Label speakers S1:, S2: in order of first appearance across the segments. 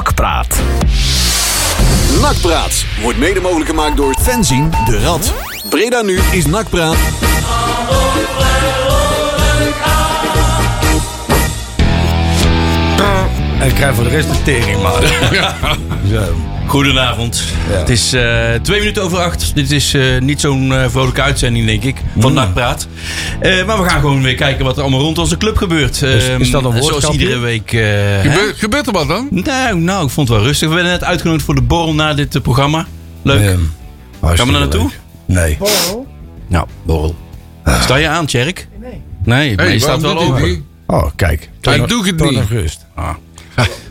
S1: Nakpraat.
S2: Nakpraat wordt mede mogelijk gemaakt door Fenzin de Rad. Breda nu is Nakpraat.
S3: En ik krijg voor de rest een tering, man. Zo.
S4: Goedenavond. Het is eh, twee minuten over acht. Dit is eh, niet zo'n eh, vrolijke uitzending, denk ik, van
S3: Mm.
S4: Nakpraat. Eh, maar we gaan gewoon weer kijken wat er allemaal rond onze club gebeurt. Ehm,
S3: is dat een
S4: Zoals
S3: woordgrapje?
S4: iedere week. eh, hè?
S5: Gebe- gebeurt er wat dan?
S4: nou, nou, ik vond het wel rustig. We werden net uitgenodigd voor de borrel na dit eh, programma. Leuk.
S3: Ja.
S4: Gaan we
S3: Hartstikke
S4: er naartoe?
S3: leuk. Nee.
S4: Nou, borrel. Sta je aan, Tjerk? Nee. Nee, maar je staat wel
S5: over.
S4: open.
S3: Oh, kijk. Toon-
S5: doe het
S3: Toon
S5: niet.
S3: en Rust.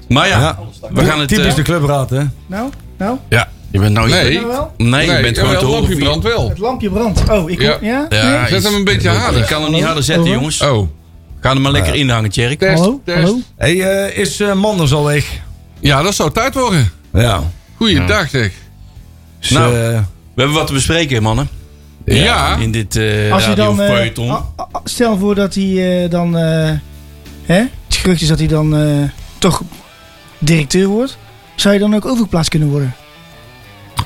S4: Maar ja,
S3: Ja.
S4: we gaan het...
S3: Typisch
S4: eh,
S3: de clubraad, hè?
S6: Nou, nou,
S4: ja, je bent nou...
S5: Nee.
S4: Nee,
S6: nou wel?
S4: nee, je bent gewoon te horen.
S5: lampje
S4: via-
S5: brandt wel.
S6: Het lampje brandt. Oh, ik...
S5: Ja.
S6: Ja? ja?
S4: Ja,
S5: Zet hem een beetje
S4: Ik
S5: harder.
S4: kan hem niet harder zetten,
S6: Hallo?
S4: jongens.
S5: Oh,
S4: Ga hem maar lekker inhangen, Tjerk.
S5: test,
S6: Hallo?
S5: test.
S6: Hallo?
S3: Hé, eh, is eh, Manders al weg?
S5: Ja, dat zou tijd worden.
S3: Ja.
S5: Goeiedag zeg.
S3: Dus,
S4: Nou.
S3: eh,
S4: We hebben wat te bespreken, mannen.
S5: Ja.
S4: In dit eh
S6: Als je dan... eh,
S4: radiofeuilleton.
S3: ah.
S6: a- a- a- stel voor dat hij eh, dan... eh, hè? Het gerucht is dat hij dan eh, toch directeur wordt. Zou je dan ook overgeplaatst kunnen worden?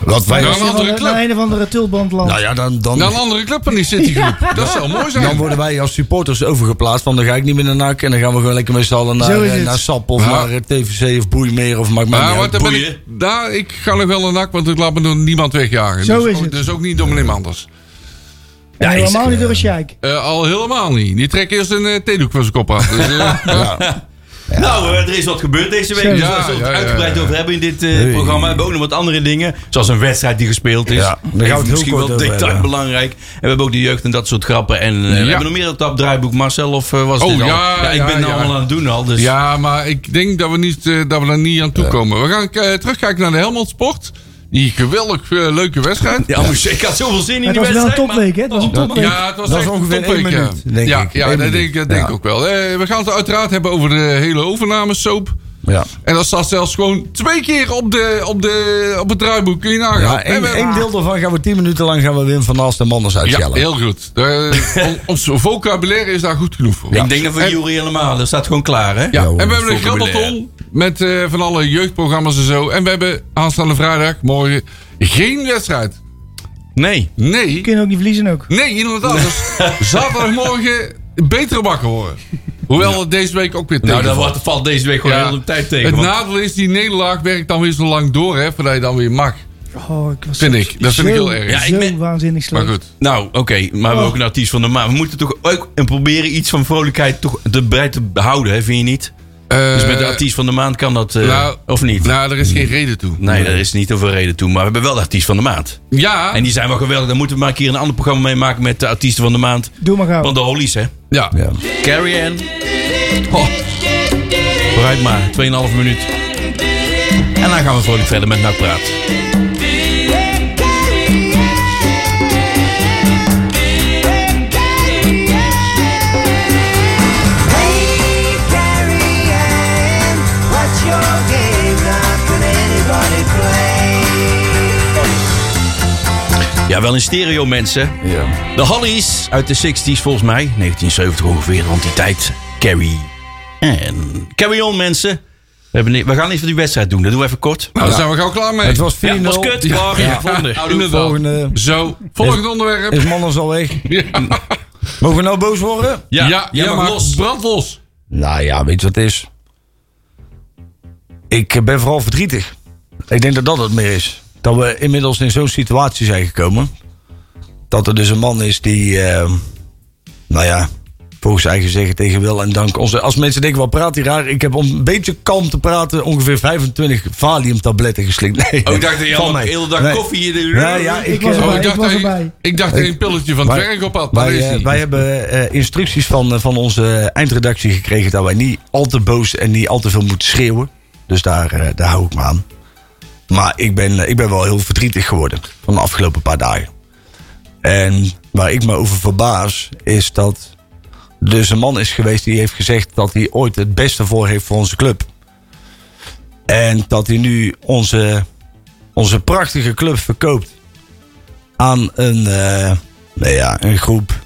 S3: wat wij...
S5: Nou,
S6: Als je
S5: andere
S6: van de-
S5: club.
S6: Naar een of andere tulbandland.
S3: Nou ja, dan, dan,
S5: Naar een andere club van die Citygroep. Dat zou mooi zijn.
S3: dan worden wij als supporters overgeplaatst. Want dan ga ik niet meer naar NAC. En dan gaan we gewoon lekker met z'n allen naar,
S6: Zo is
S3: eh,
S6: het.
S3: naar SAP of
S5: Ja.
S3: naar eh, TVC of Boeimeer. Of maakt mij
S5: Maar
S3: niet
S5: wat
S3: uit.
S5: dan ben ik,
S4: boeien.
S5: daar, ik ga nog wel een nak, want ik laat me door niemand wegjagen.
S6: Zo
S5: dus,
S6: is
S5: ook,
S6: het.
S5: dus ook niet door meneer Anders.
S6: En
S3: is-
S6: helemaal niet door een sheik.
S5: Eh, al helemaal niet. Die trekt eerst een eh, theedoek van zijn kop af. Dus, eh,
S4: Nou, eh, er is wat gebeurd deze week.
S6: Ja,
S4: dus daar zullen we
S5: ja,
S4: het
S5: ja,
S4: uitgebreid
S5: ja.
S4: over hebben in dit eh, programma. We hebben ook nog wat andere dingen. Zoals een wedstrijd die gespeeld is.
S3: Ja, daar gaan we
S4: Even
S3: het heel
S4: misschien
S3: kort
S4: wel
S3: over
S4: detail
S3: hebben.
S4: belangrijk. En we hebben ook de jeugd en dat soort grappen. En eh, we
S5: Ja.
S4: hebben nog meer op dat draaiboek. Marcel, of eh, was het
S5: Oh,
S4: dit al?
S5: ja,
S4: ik
S5: ja,
S4: ben nou
S5: ja.
S4: allemaal aan het doen al. Dus
S5: ja, maar ik denk dat we, niet, eh, dat we daar niet aan toekomen. We gaan eh, terugkijken naar de Helmond Sport. Die geweldig eh, leuke wedstrijd.
S4: Ja, maar ik had zoveel zin in
S6: Het
S4: die
S6: was wel een
S4: wedstrijd. maar-
S6: topweek, hè? Het was een topweek.
S5: Ja, het was
S3: Dat is
S5: echt
S3: ongeveer
S5: een topweek,
S3: één
S5: ja.
S3: minuut, denk
S5: ja,
S3: ik.
S5: Ja,
S3: Eén
S5: dat
S3: minuut.
S5: denk, dat denk ik
S3: Ja.
S5: ook wel. Eh, we gaan het uiteraard hebben over de hele overnamesoap.
S3: Ja.
S5: En dat staat zelfs gewoon twee keer op, de, op, de, op het draaiboek. Kun je nagaan.
S3: Ja,
S5: En
S3: één,
S5: we-
S3: één deel daarvan gaan we 10 minuten lang gaan we Wim van Aalst en Manders
S5: ja,
S3: uitschellen.
S5: heel goed. Eh, on- ons vocabulaire is daar goed genoeg voor.
S4: Ik denk dat voor
S5: En-
S4: Jury helemaal. Dat staat gewoon klaar, hè?
S5: Ja,
S3: Ja,
S5: en we
S3: hoor,
S5: hebben een
S4: vocabulaire.
S5: grabbelton met eh, van alle jeugdprogramma's en zo. En we hebben aanstaande vrijdag, morgen, geen wedstrijd.
S4: Nee.
S5: Nee.
S6: We kunnen ook niet verliezen ook.
S5: Nee, inderdaad. Dus zaterdagmorgen betere bakken horen. Hoewel het deze week ook weer
S4: Nou,
S5: tegenvalt.
S4: dat wordt- valt deze week gewoon
S5: Ja.
S4: heel de tijd tegen.
S5: Het
S4: want-
S5: nadeel is, die nederlaag werkt dan weer zo lang door, hè, voordat je dan weer mag.
S6: Oh, ik was
S5: Vind
S6: zo-
S5: ik. Dat vind ik
S6: zo-
S5: heel erg.
S4: Ja, ik
S6: zo
S4: ben-
S6: waanzinnig
S5: Maar
S6: slecht.
S5: goed.
S4: Nou, oké, maar we hebben ook een artiest van de maand. We moeten toch ook en proberen iets van vrolijkheid toch de bij te houden, hè, vind je niet? Dus met de artiest van de maand kan dat, eh,
S5: nou,
S4: of niet?
S5: Eh, Nou, er is geen reden toe.
S4: nee, daar is niet over reden toe, maar we hebben wel de artiest van de maand.
S5: Ja,
S4: En die zijn wel geweldig, daar moeten we maar een keer een ander programma mee maken met de artiesten van de maand.
S6: Doe maar gauw.
S4: Van de Hollies, hè?
S5: ja. Nou,
S3: Ja.
S4: Carrie Ann. Oh. Vooruit maar, 2,5 minuut. En dan gaan we vrolijk verder met Nakpraat. Ja, wel in stereo, mensen.
S3: Ja.
S4: De Hollies uit de 60s, volgens mij. 1970 ongeveer, rond die tijd. Carry. En carry on, mensen. We, hebben, ni- we gaan even die wedstrijd doen. Dat doen we even kort.
S5: Nou, daar zijn we gauw klaar mee.
S3: Het was 4-0.
S4: Ja, was kut. Ja, ja.
S5: Inderdaad.
S3: Volgende
S5: Zo, volgend onderwerp.
S3: is Manders al weg.
S5: ja,
S3: Mogen we nou boos worden?
S4: ja,
S5: ja,
S4: jij mag
S5: maar
S4: los.
S5: brand los.
S3: Nou ja, weet je wat het is? Ik eh, ben vooral verdrietig. Ik denk dat dat het meer is. Dat we inmiddels in zo'n situatie zijn gekomen. Dat er dus een man is die, eh, nou ja, volgens eigen zeggen tegen wil en dank. Onze, als mensen denken, wat praat hij raar? Ik heb om een beetje kalm te praten ongeveer 25 Valium-tabletten geslikt. Nee,
S4: Oh, ik dacht dat je
S3: valt
S4: al de
S3: mee.
S4: hele dag
S3: Nee.
S4: koffie... in de-
S3: Nee, ja, ik,
S6: Ik was
S3: eh,
S6: erbij.
S5: Oh, ik dacht
S6: was
S5: dat je-
S6: erbij.
S5: ik dacht dat je een pilletje van het
S3: Wij-
S5: werk op had. maar
S3: Wij,
S5: dat is
S3: eh,
S5: niet.
S3: wij hebben eh, instructies van, eh, van onze eindredactie gekregen dat wij niet al te boos en niet al te veel moeten schreeuwen. Dus daar, eh, daar hou ik me aan. Maar ik ben, eh, ik ben wel heel verdrietig geworden van de afgelopen paar dagen. En waar ik me over verbaas is dat er dus een man is geweest die heeft gezegd dat hij ooit het beste voor heeft voor onze club. En dat hij nu onze, onze prachtige club verkoopt aan een, eh, nou ja, een groep.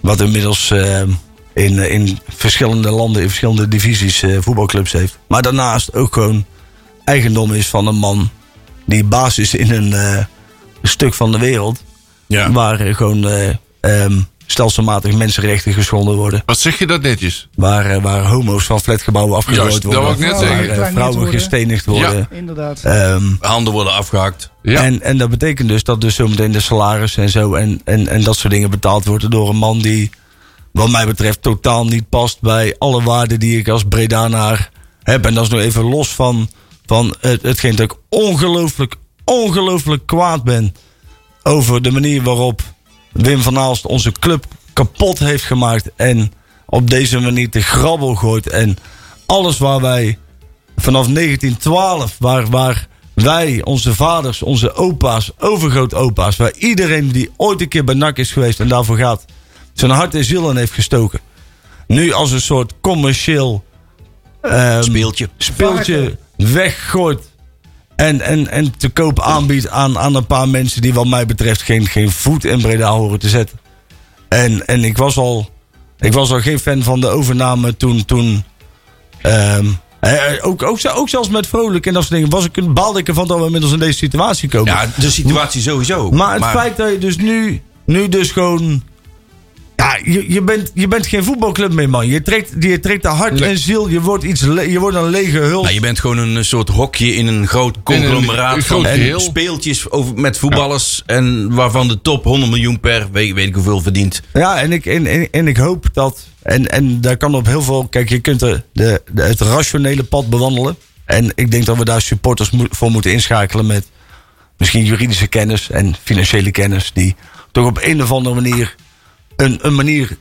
S3: Wat inmiddels eh, in, in verschillende landen, in verschillende divisies eh, voetbalclubs heeft. Maar daarnaast ook gewoon eigendom is van een man die baas is in een eh, stuk van de wereld.
S5: Ja.
S3: Waar eh, gewoon eh, ehm, stelselmatig mensenrechten geschonden worden.
S5: Wat zeg je dat netjes?
S3: Waar, eh, waar homo's van flatgebouwen afgelopen
S5: Juist, dat
S3: worden.
S5: wou ik
S3: waar
S5: net zeggen.
S3: eh,
S6: Gevangen
S3: vrouwen
S6: worden.
S3: gestenigd worden.
S6: Inderdaad.
S3: Ehm,
S4: Handen worden afgehakt.
S5: Ja.
S3: En, en dat betekent dus dat dus zometeen de salaris en zo en, en, en dat soort dingen betaald worden door een man die, wat mij betreft, totaal niet past bij alle waarden die ik als Bredanaar heb. En dat is nog even los van, van het, hetgeen dat ik ongelooflijk, ongelooflijk kwaad ben over de manier waarop Wim van Aalst onze club kapot heeft gemaakt en op deze manier te grabbel gooit en alles waar wij vanaf 1912, waar, waar wij, onze vaders, onze opa's, overgrootopa's, waar iedereen die ooit een keer bij NAC is geweest en daarvoor gaat, zijn hart en ziel in heeft gestoken. Nu als een soort commercieel ehm,
S4: Speeltje.
S3: speeltje weggooit. En, en, en te koop aanbiedt aan, aan een paar mensen die wat mij betreft geen, geen voet in Breda horen te zetten. En, en ik, was al, ik was al geen fan van de overname toen. toen ehm, eh, eh, ook, ook, ze- ook zelfs met Vrolijk en dat soort dingen was ik, baalde ik ervan dat we inmiddels in deze situatie komen.
S4: Ja, de situatie sowieso.
S3: maar het feit dat je dus nu, nu dus gewoon... Ja, je, je, bent, je bent geen voetbalclub meer, man. Je trekt, je trekt de hart en ziel. Je wordt, iets le- je wordt een lege hulp.
S4: Nou, je bent gewoon een eh, soort hokje in een groot conglomeraat
S5: een
S4: van
S5: groot
S4: en
S5: geheel.
S4: speeltjes over, met voetballers. En waarvan de top 100 miljoen per, weet, weet ik hoeveel, verdient.
S3: Ja, en ik, en, en, en ik hoop dat. En, en daar kan op heel veel. Kijk, je kunt de, de, de- het rationele pad bewandelen. En ik denk dat we daar supporters moe- voor moeten inschakelen met misschien juridische kennis en financiële kennis. Die toch op een of andere manier een, een manier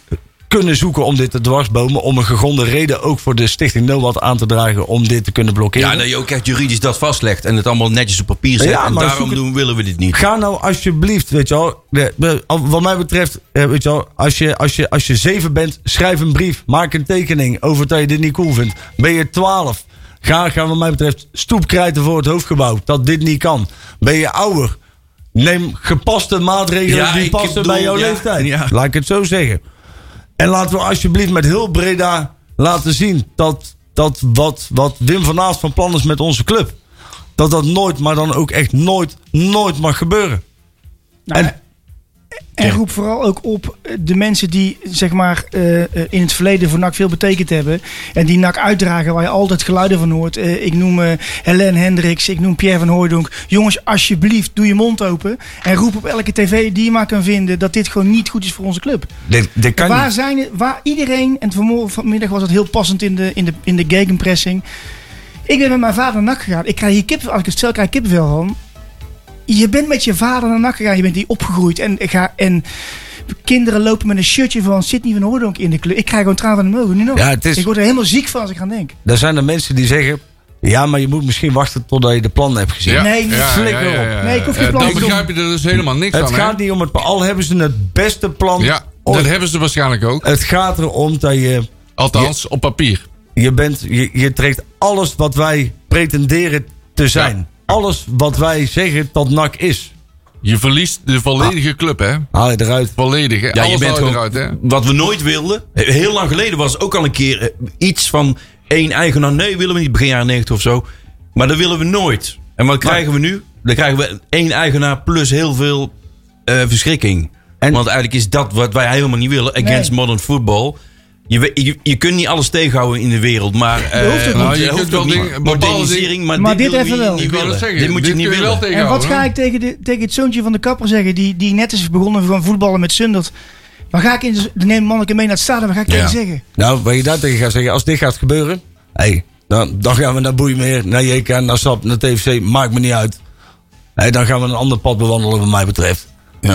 S3: kunnen zoeken om dit te dwarsbomen. Om een gegronde reden ook voor de stichting NOWAT aan te dragen om dit te kunnen blokkeren.
S4: Ja, dat je ook echt juridisch dat vastlegt. En het allemaal netjes op papier zet.
S3: Ja,
S4: en
S3: maar
S4: daarom
S3: zoek het-
S4: doen, willen we dit niet.
S3: Ga nou alsjeblieft, weet je wel. de- de- Wat mij betreft, eh, weet je wel. Als je, als, je, als je zeven bent, schrijf een brief. Maak een tekening over dat je dit niet cool vindt. Ben je twaalf? Ga, ga wat mij betreft stoepkrijten voor het hoofdgebouw. Dat dit niet kan. Ben je ouder? Neem gepaste maatregelen
S4: Ja,
S3: die
S4: ik
S3: passen
S4: bedoel,
S3: bij jouw
S4: ja,
S3: leeftijd.
S4: ja.
S3: Laat ik het zo zeggen. En laten we alsjeblieft met heel Breda laten zien dat, dat wat, wat Wim van Aast van plan is met onze club. Dat dat nooit, maar dan ook echt nooit, nooit mag gebeuren.
S6: Nou,
S3: en-
S6: en roep vooral ook op eh, de mensen die zeg maar, eh, eh, in het verleden voor NAC veel betekend hebben. En die NAC uitdragen waar je altijd geluiden van hoort. Eh, ik noem eh Helene Hendricks, ik noem Pierre van Hooijdonk. Jongens, alsjeblieft, doe je mond open. En roep op elke tv die je maar kan vinden dat dit gewoon niet goed is voor onze club.
S3: Dit, dit kan
S6: waar
S3: niet.
S6: zijn het- waar iedereen, en vanmorgen- vanmiddag was het heel passend in de, in de, in de gegenpressing. Ik ben met mijn vader naar NAC gegaan. Ik krijg hier kip, als ik het stel, krijg ik kippenvel van. Je bent met je vader naar NAC gegaan. Je bent hier opgegroeid. En, ga, en kinderen lopen met een shirtje van Sydney van Hoordonk in de club. Ik krijg gewoon traan van de mogen. Nu nog.
S3: Ja, het is-
S6: Ik word er helemaal ziek van als ik aan denk.
S3: Daar zijn er mensen die zeggen: ja, maar je moet misschien wachten totdat je de plannen hebt gezien.
S5: Ja.
S6: Nee,
S3: flikker op.
S6: Nee, ik hoef geen
S5: Eh,
S6: plan
S5: Dan
S6: te doen.
S5: begrijp je er dus helemaal niks
S3: Het
S5: aan, hè?
S3: gaat niet om het plan. Al hebben ze het beste plan.
S5: Ja, dat
S3: ooit.
S5: hebben ze waarschijnlijk ook.
S3: Het gaat erom dat je
S5: Althans, op papier.
S3: Je, bent, je, je trekt alles wat wij pretenderen te zijn.
S5: Ja.
S3: Alles wat wij zeggen dat NAC is.
S5: Je verliest de volledige club, hè?
S3: Haal je eruit.
S5: Volledig, hè?
S4: Ja,
S5: Alles
S4: je bent
S5: haal
S4: gewoon,
S5: eruit, hè?
S4: wat we nooit wilden. Heel lang geleden was ook al een keer eh, iets van één eigenaar. Nee, willen we niet begin jaren 90 of zo. Maar dat willen we nooit. En wat krijgen we nu? Dan krijgen we één eigenaar plus heel veel eh, verschrikking.
S3: En-
S4: Want eigenlijk is dat wat wij helemaal niet willen. Against
S6: Nee.
S4: modern football. Je, we- je, je kunt niet alles tegenhouden in de wereld, maar... eh,
S6: hoeft ook
S5: Nou,
S4: dat
S5: je kunt
S4: hoeft
S5: wel
S4: ook niet.
S5: dingen- bepaalde
S4: Modernisering, maar,
S6: Maar
S4: dit,
S6: dit
S4: willen we
S6: even
S4: niet
S5: Ik wil
S4: willen.
S5: dat zeggen.
S4: Dit moet je niet
S5: kun wel
S4: willen.
S6: En wat
S5: tegenhouden,
S6: ga
S5: hè?
S6: ik tegen, de, tegen het zoontje van de kapper zeggen, die, die net is begonnen van voetballen met Sundert. Waar ga ik in de, neem manneke mee naar het stadion, wat ga ik tegen zeggen?
S3: Nou, wat je daar tegen gaat zeggen, als dit gaat gebeuren, hey, dan, dan gaan we naar Boeimeer, naar JK, naar SAP, naar TFC, maakt me niet uit. Hey, dan gaan we een ander pad bewandelen, wat mij betreft.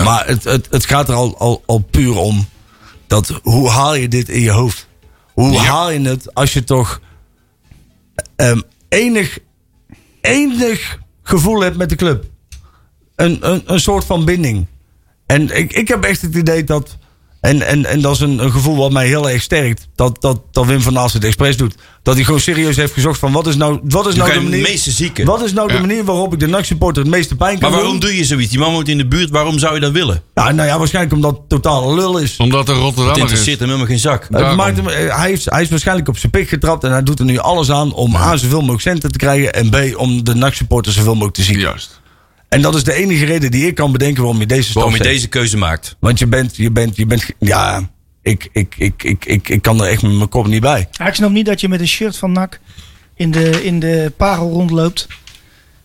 S3: Maar het, het, het gaat er al, al, al puur om dat hoe haal je dit in je hoofd? Hoe haal je het als je toch ehm, enig, enig gevoel hebt met de club? Een, een, een soort van binding. En ik, ik heb echt het idee dat En, en, en dat is een, een gevoel wat mij heel erg sterkt. Dat, dat, dat Wim van Aalst het expres doet. Dat hij gewoon serieus heeft gezocht van wat is nou, wat is
S4: Dan
S3: nou de
S4: ga je de
S3: manier...
S4: meeste zieken.
S3: Wat is nou de
S5: Ja.
S3: manier waarop ik de NAC-supporter het meeste pijn kan
S4: Maar waarom
S3: doen?
S4: doe je zoiets? Die man woont in de buurt, waarom zou je dat willen?
S3: Nou, nou ja, waarschijnlijk omdat het totaal lul is.
S5: Omdat er
S4: Het
S5: Rotterdammer is.
S4: interesseert hem helemaal geen zak.
S3: Het
S5: Daarom.
S3: maakt hem- eh, hij, is, hij is waarschijnlijk op zijn pik getrapt en hij doet er nu alles aan om A, zoveel mogelijk centen te krijgen en B, om de NAC-supporters zoveel mogelijk te zien.
S5: Juist.
S3: En dat is de enige reden die ik kan bedenken waarom je deze stap
S4: Waarom je
S3: zet.
S4: deze keuze maakt.
S3: Want je bent, je bent, je bent, ge- ja, ik, ik, ik, ik, ik, ik kan er echt met mijn kop niet bij.
S6: Ja, ik snap niet dat je met een shirt van NAC in de, in de parel rondloopt.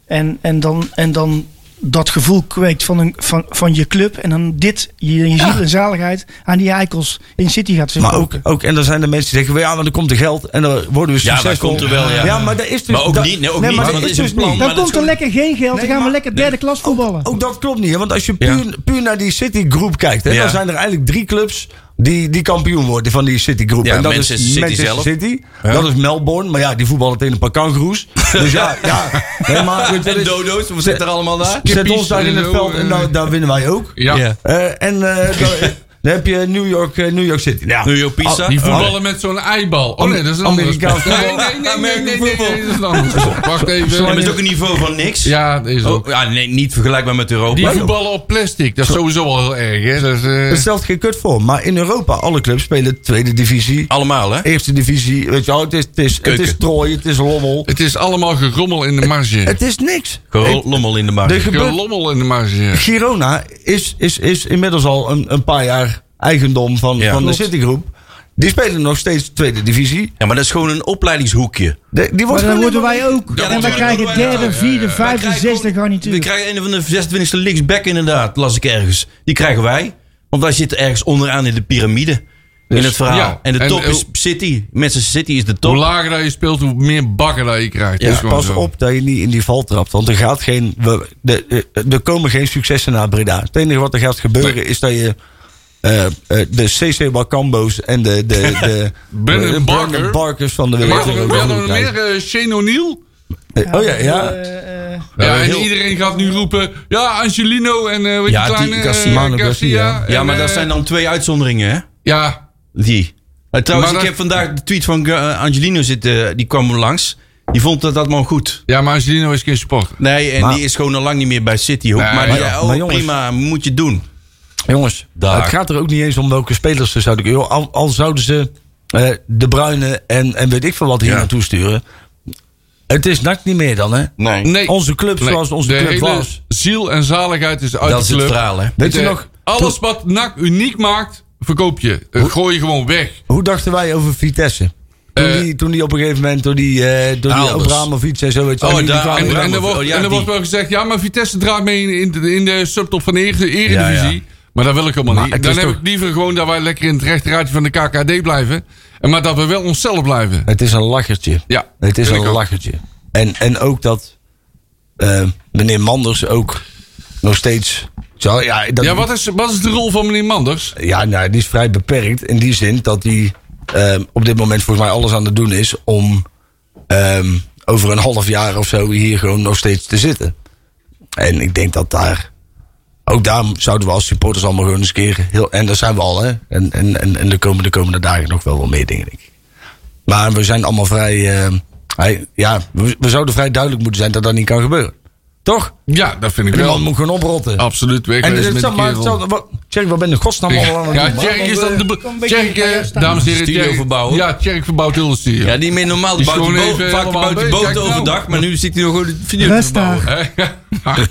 S6: En, en, dan, en dan dat gevoel kweekt van, een, van, van je club. En dan dit, je, je ziel en zaligheid aan die eikels in City gaat
S3: Maar
S6: verkopen.
S3: ook, ook, en dan zijn er mensen die zeggen, ja, maar dan komt er geld en dan worden we
S4: Ja,
S3: succesvol.
S4: dat komt er wel, ja.
S3: Ja, maar dat is dus...
S4: Maar ook
S3: dat-
S4: niet, nee, ook niet,
S3: maar
S4: want
S3: dat
S4: dat
S3: is
S4: is een
S3: dus
S4: plan.
S3: niet.
S4: maar
S6: dan
S4: dat
S6: komt
S4: is
S6: er
S4: gewoon-
S6: lekker geen geld.
S3: Nee,
S6: dan gaan
S3: maar-
S6: we lekker derde klas voetballen.
S3: Ook dat klopt niet, hè? want als je
S4: Ja.
S3: puur, puur naar die Citigroep kijkt, hè,
S4: Ja.
S3: dan zijn er eigenlijk drie clubs die, die kampioen worden van die Citigroep.
S4: Ja,
S3: en dat
S4: Manchester
S3: is
S4: City
S3: Manchester
S4: zelf.
S3: City,
S4: Ja.
S3: dat is Melbourne, maar ja, die voetballen tegen een paar kangoeroes. Dus ja, ja. Nee, maar, goed, dat
S4: En
S3: is-
S4: dodo's, we zitten er allemaal daar.
S3: zet ons daar in het
S5: en
S3: veld
S5: zo,
S3: en nou, daar winnen wij ook.
S5: Ja.
S4: Ja.
S3: Eh, en eh, dan, dan heb je New York, eh, New York City. Nou,
S4: New York Pizza.
S5: Die voetballen met zo'n eibal. Oh nee, dat is een andere
S3: Amerikaans
S5: sport. Nee, nee, nee, nee, nee, nee, nee, dat is een andere sport. Wacht
S4: Ja, maar het is ook
S5: even.
S4: een niveau van niks.
S5: Ja, dat is ook.
S4: Oh, ja, nee, niet vergelijkbaar met Europa.
S5: Die voetballen op plastic, dat is sowieso al heel erg. Hè? Dat is, eh,
S3: Het stelt geen kut voor. Maar in Europa, alle clubs spelen tweede divisie,
S4: Allemaal, hè?
S3: eerste divisie. Weet je wel, het is, het is, het is
S4: Keuken.
S3: trooi, het is lommel.
S5: het is allemaal gerommel in de marge.
S3: Het is niks.
S4: Gewoon Lommel in de markt.
S3: Er gebeurt
S5: Gerommel in de marge.
S3: Girona is, is, is inmiddels al een, een paar jaar eigendom van,
S4: Ja.
S3: van de
S4: Klopt.
S3: Citygroep. Die spelen nog steeds tweede divisie.
S4: Ja, maar dat is gewoon een opleidingshoekje.
S3: De- die
S6: maar
S3: wordt
S6: dan
S3: gewoon
S6: worden
S3: helemaal-
S6: wij ook.
S4: Ja,
S6: en
S4: dat
S6: wij
S4: worden
S6: krijgen
S4: wij ook,
S6: derde, vierde,
S4: Wij
S6: vijfde,
S4: krijgen
S6: zesde
S4: gewoon- We
S6: garnituur.
S4: krijgen een van de 26e linksback inderdaad, las ik ergens. Die krijgen wij. Want wij zitten ergens onderaan in de piramide. in het verhaal.
S5: ja.
S4: En de
S5: En
S4: top
S5: hoe-
S4: is City. Manchester City is de top.
S5: Hoe lager dat je speelt, hoe meer bakken dat je krijgt. Dat
S3: Ja,
S5: is gewoon
S3: Dus pas
S5: zo.
S3: op dat je niet in die val trapt. Want er, gaat geen, we- de, de- er komen geen successen naar Breda. Het enige wat er gaat gebeuren is dat je eh, eh, de CC Wakambo's en de, de, de
S5: Ben en
S3: de
S5: Barker.
S3: Brandon Barkers van de
S5: Maar
S3: wereld.
S5: we
S3: erover
S5: hadden nog
S3: krijgen.
S5: meer eh, Shane O'Neill.
S3: Eh, Oh ja, ja.
S6: Eh, eh,
S5: Ja, en
S4: heel-
S5: iedereen gaat nu roepen. Ja, Angelino en eh weet
S4: Ja, die
S5: die kleine eh,
S4: Garcia,
S5: Garcia.
S3: Manu Garcia.
S4: ja,
S5: en,
S4: maar
S5: eh,
S4: dat zijn dan twee uitzonderingen, hè?
S5: Ja,
S4: Die. Eh, trouwens,
S5: Maar
S4: ik
S5: dat-
S4: heb vandaag de tweet van eh, Angelino zitten. Die kwam langs. Die vond dat allemaal goed.
S5: ja, maar Angelino is geen supporter.
S4: Nee, en
S3: Maar-
S4: die is gewoon al lang niet meer bij City. Hoek.
S5: Nee,
S4: maar die,
S5: maar
S3: ja,
S4: oh,
S3: maar jongens.
S4: prima, moet je doen.
S3: Jongens,
S4: Daar.
S3: het gaat er ook niet eens om welke spelers ze zouden... Joh, al, al zouden ze eh, De Bruyne en, en weet ik veel wat hier
S4: Ja.
S3: naartoe sturen. Het is NAC niet meer dan, hè?
S4: Nee.
S5: Nee.
S3: Onze club
S5: Nee.
S3: zoals onze
S5: de
S3: club
S5: hele
S3: was.
S5: ziel en zaligheid is uit
S4: Dat
S5: de
S4: is het
S5: club.
S4: verhaal, hè?
S3: Weet je
S5: Eh,
S3: nog,
S5: Alles wat NAC uniek maakt, verkoop je. Eh, Gooi je gewoon weg.
S3: Hoe dachten wij over Vitesse? Toen,
S5: Eh, Nou,
S3: die, toen die op een gegeven moment door die, eh door die
S4: Aalders.
S3: Abramovic en zo. Weet je,
S4: Oh,
S3: wel, die
S4: daar-
S3: kwamen
S5: En,
S4: Ja,
S5: en
S4: maar-
S5: er wordt,
S4: oh, ja,
S5: en er
S4: die.
S5: wordt wel gezegd, ja, maar Vitesse draait mee in, in de, in de subtop van de Ere-
S4: Ja,
S5: Eredivisie.
S4: ja.
S5: Maar dat wil ik helemaal
S3: Maar
S5: niet.
S3: het
S5: Dan
S3: is
S5: heb
S3: toch-
S5: ik liever gewoon dat wij lekker in het rechterraadje van de KKD blijven. En maar dat we wel onszelf blijven.
S3: Het is een lachertje.
S5: Ja,
S3: het is
S5: vind
S3: een
S5: ik ook.
S3: lachertje. En, en ook dat eh, meneer Manders ook nog steeds... Zo, ja, dat,
S5: Ja, wat is, wat is de rol van meneer Manders?
S3: Ja, nou, die is vrij beperkt in die zin dat hij ehm, op dit moment volgens mij alles aan het doen is om ehm, over een half jaar of zo hier gewoon nog steeds te zitten. En ik denk dat daar. Ook daar zouden we als supporters allemaal gewoon eens een keer. Heel, en daar zijn we al, hè? En, en, en, en er komen de komende dagen nog wel wel meer dingen, denk ik. Maar we zijn allemaal vrij. ehm, hij- ja, we, we zouden vrij duidelijk moeten zijn dat dat niet kan gebeuren. Toch?
S5: Ja, dat vind ik
S3: Die man
S5: wel.
S3: moet gewoon oprotten.
S5: Absoluut weg.
S3: en dus
S5: wezen
S3: het
S5: met
S3: is
S5: die
S3: dan maar.
S5: kerel.
S3: hetzelfde- wat- Tjerk, wat ben je in godsnaam allemaal aan het
S5: Ja,
S3: doen, man?
S5: Tjerk is dan de. be-
S6: Kom een beetje
S5: Tjerk,
S6: bij jou
S5: eh,
S6: staan.
S5: dames en heren.
S4: Studio
S5: Tjerk-
S4: verbouwen.
S5: Ja, Tjerk verbouwt heel de studio.
S4: Ja, die meer normaal. Die
S5: Die is
S4: bouwt die
S5: gewoon
S4: boot-
S5: even
S4: vaak
S5: helemaal
S4: bouwt die
S5: bezig.
S4: boot
S5: Kijk nou.
S4: overdag, maar nu zit hij nog gewoon de video te
S6: Rustig.
S4: verbouwen.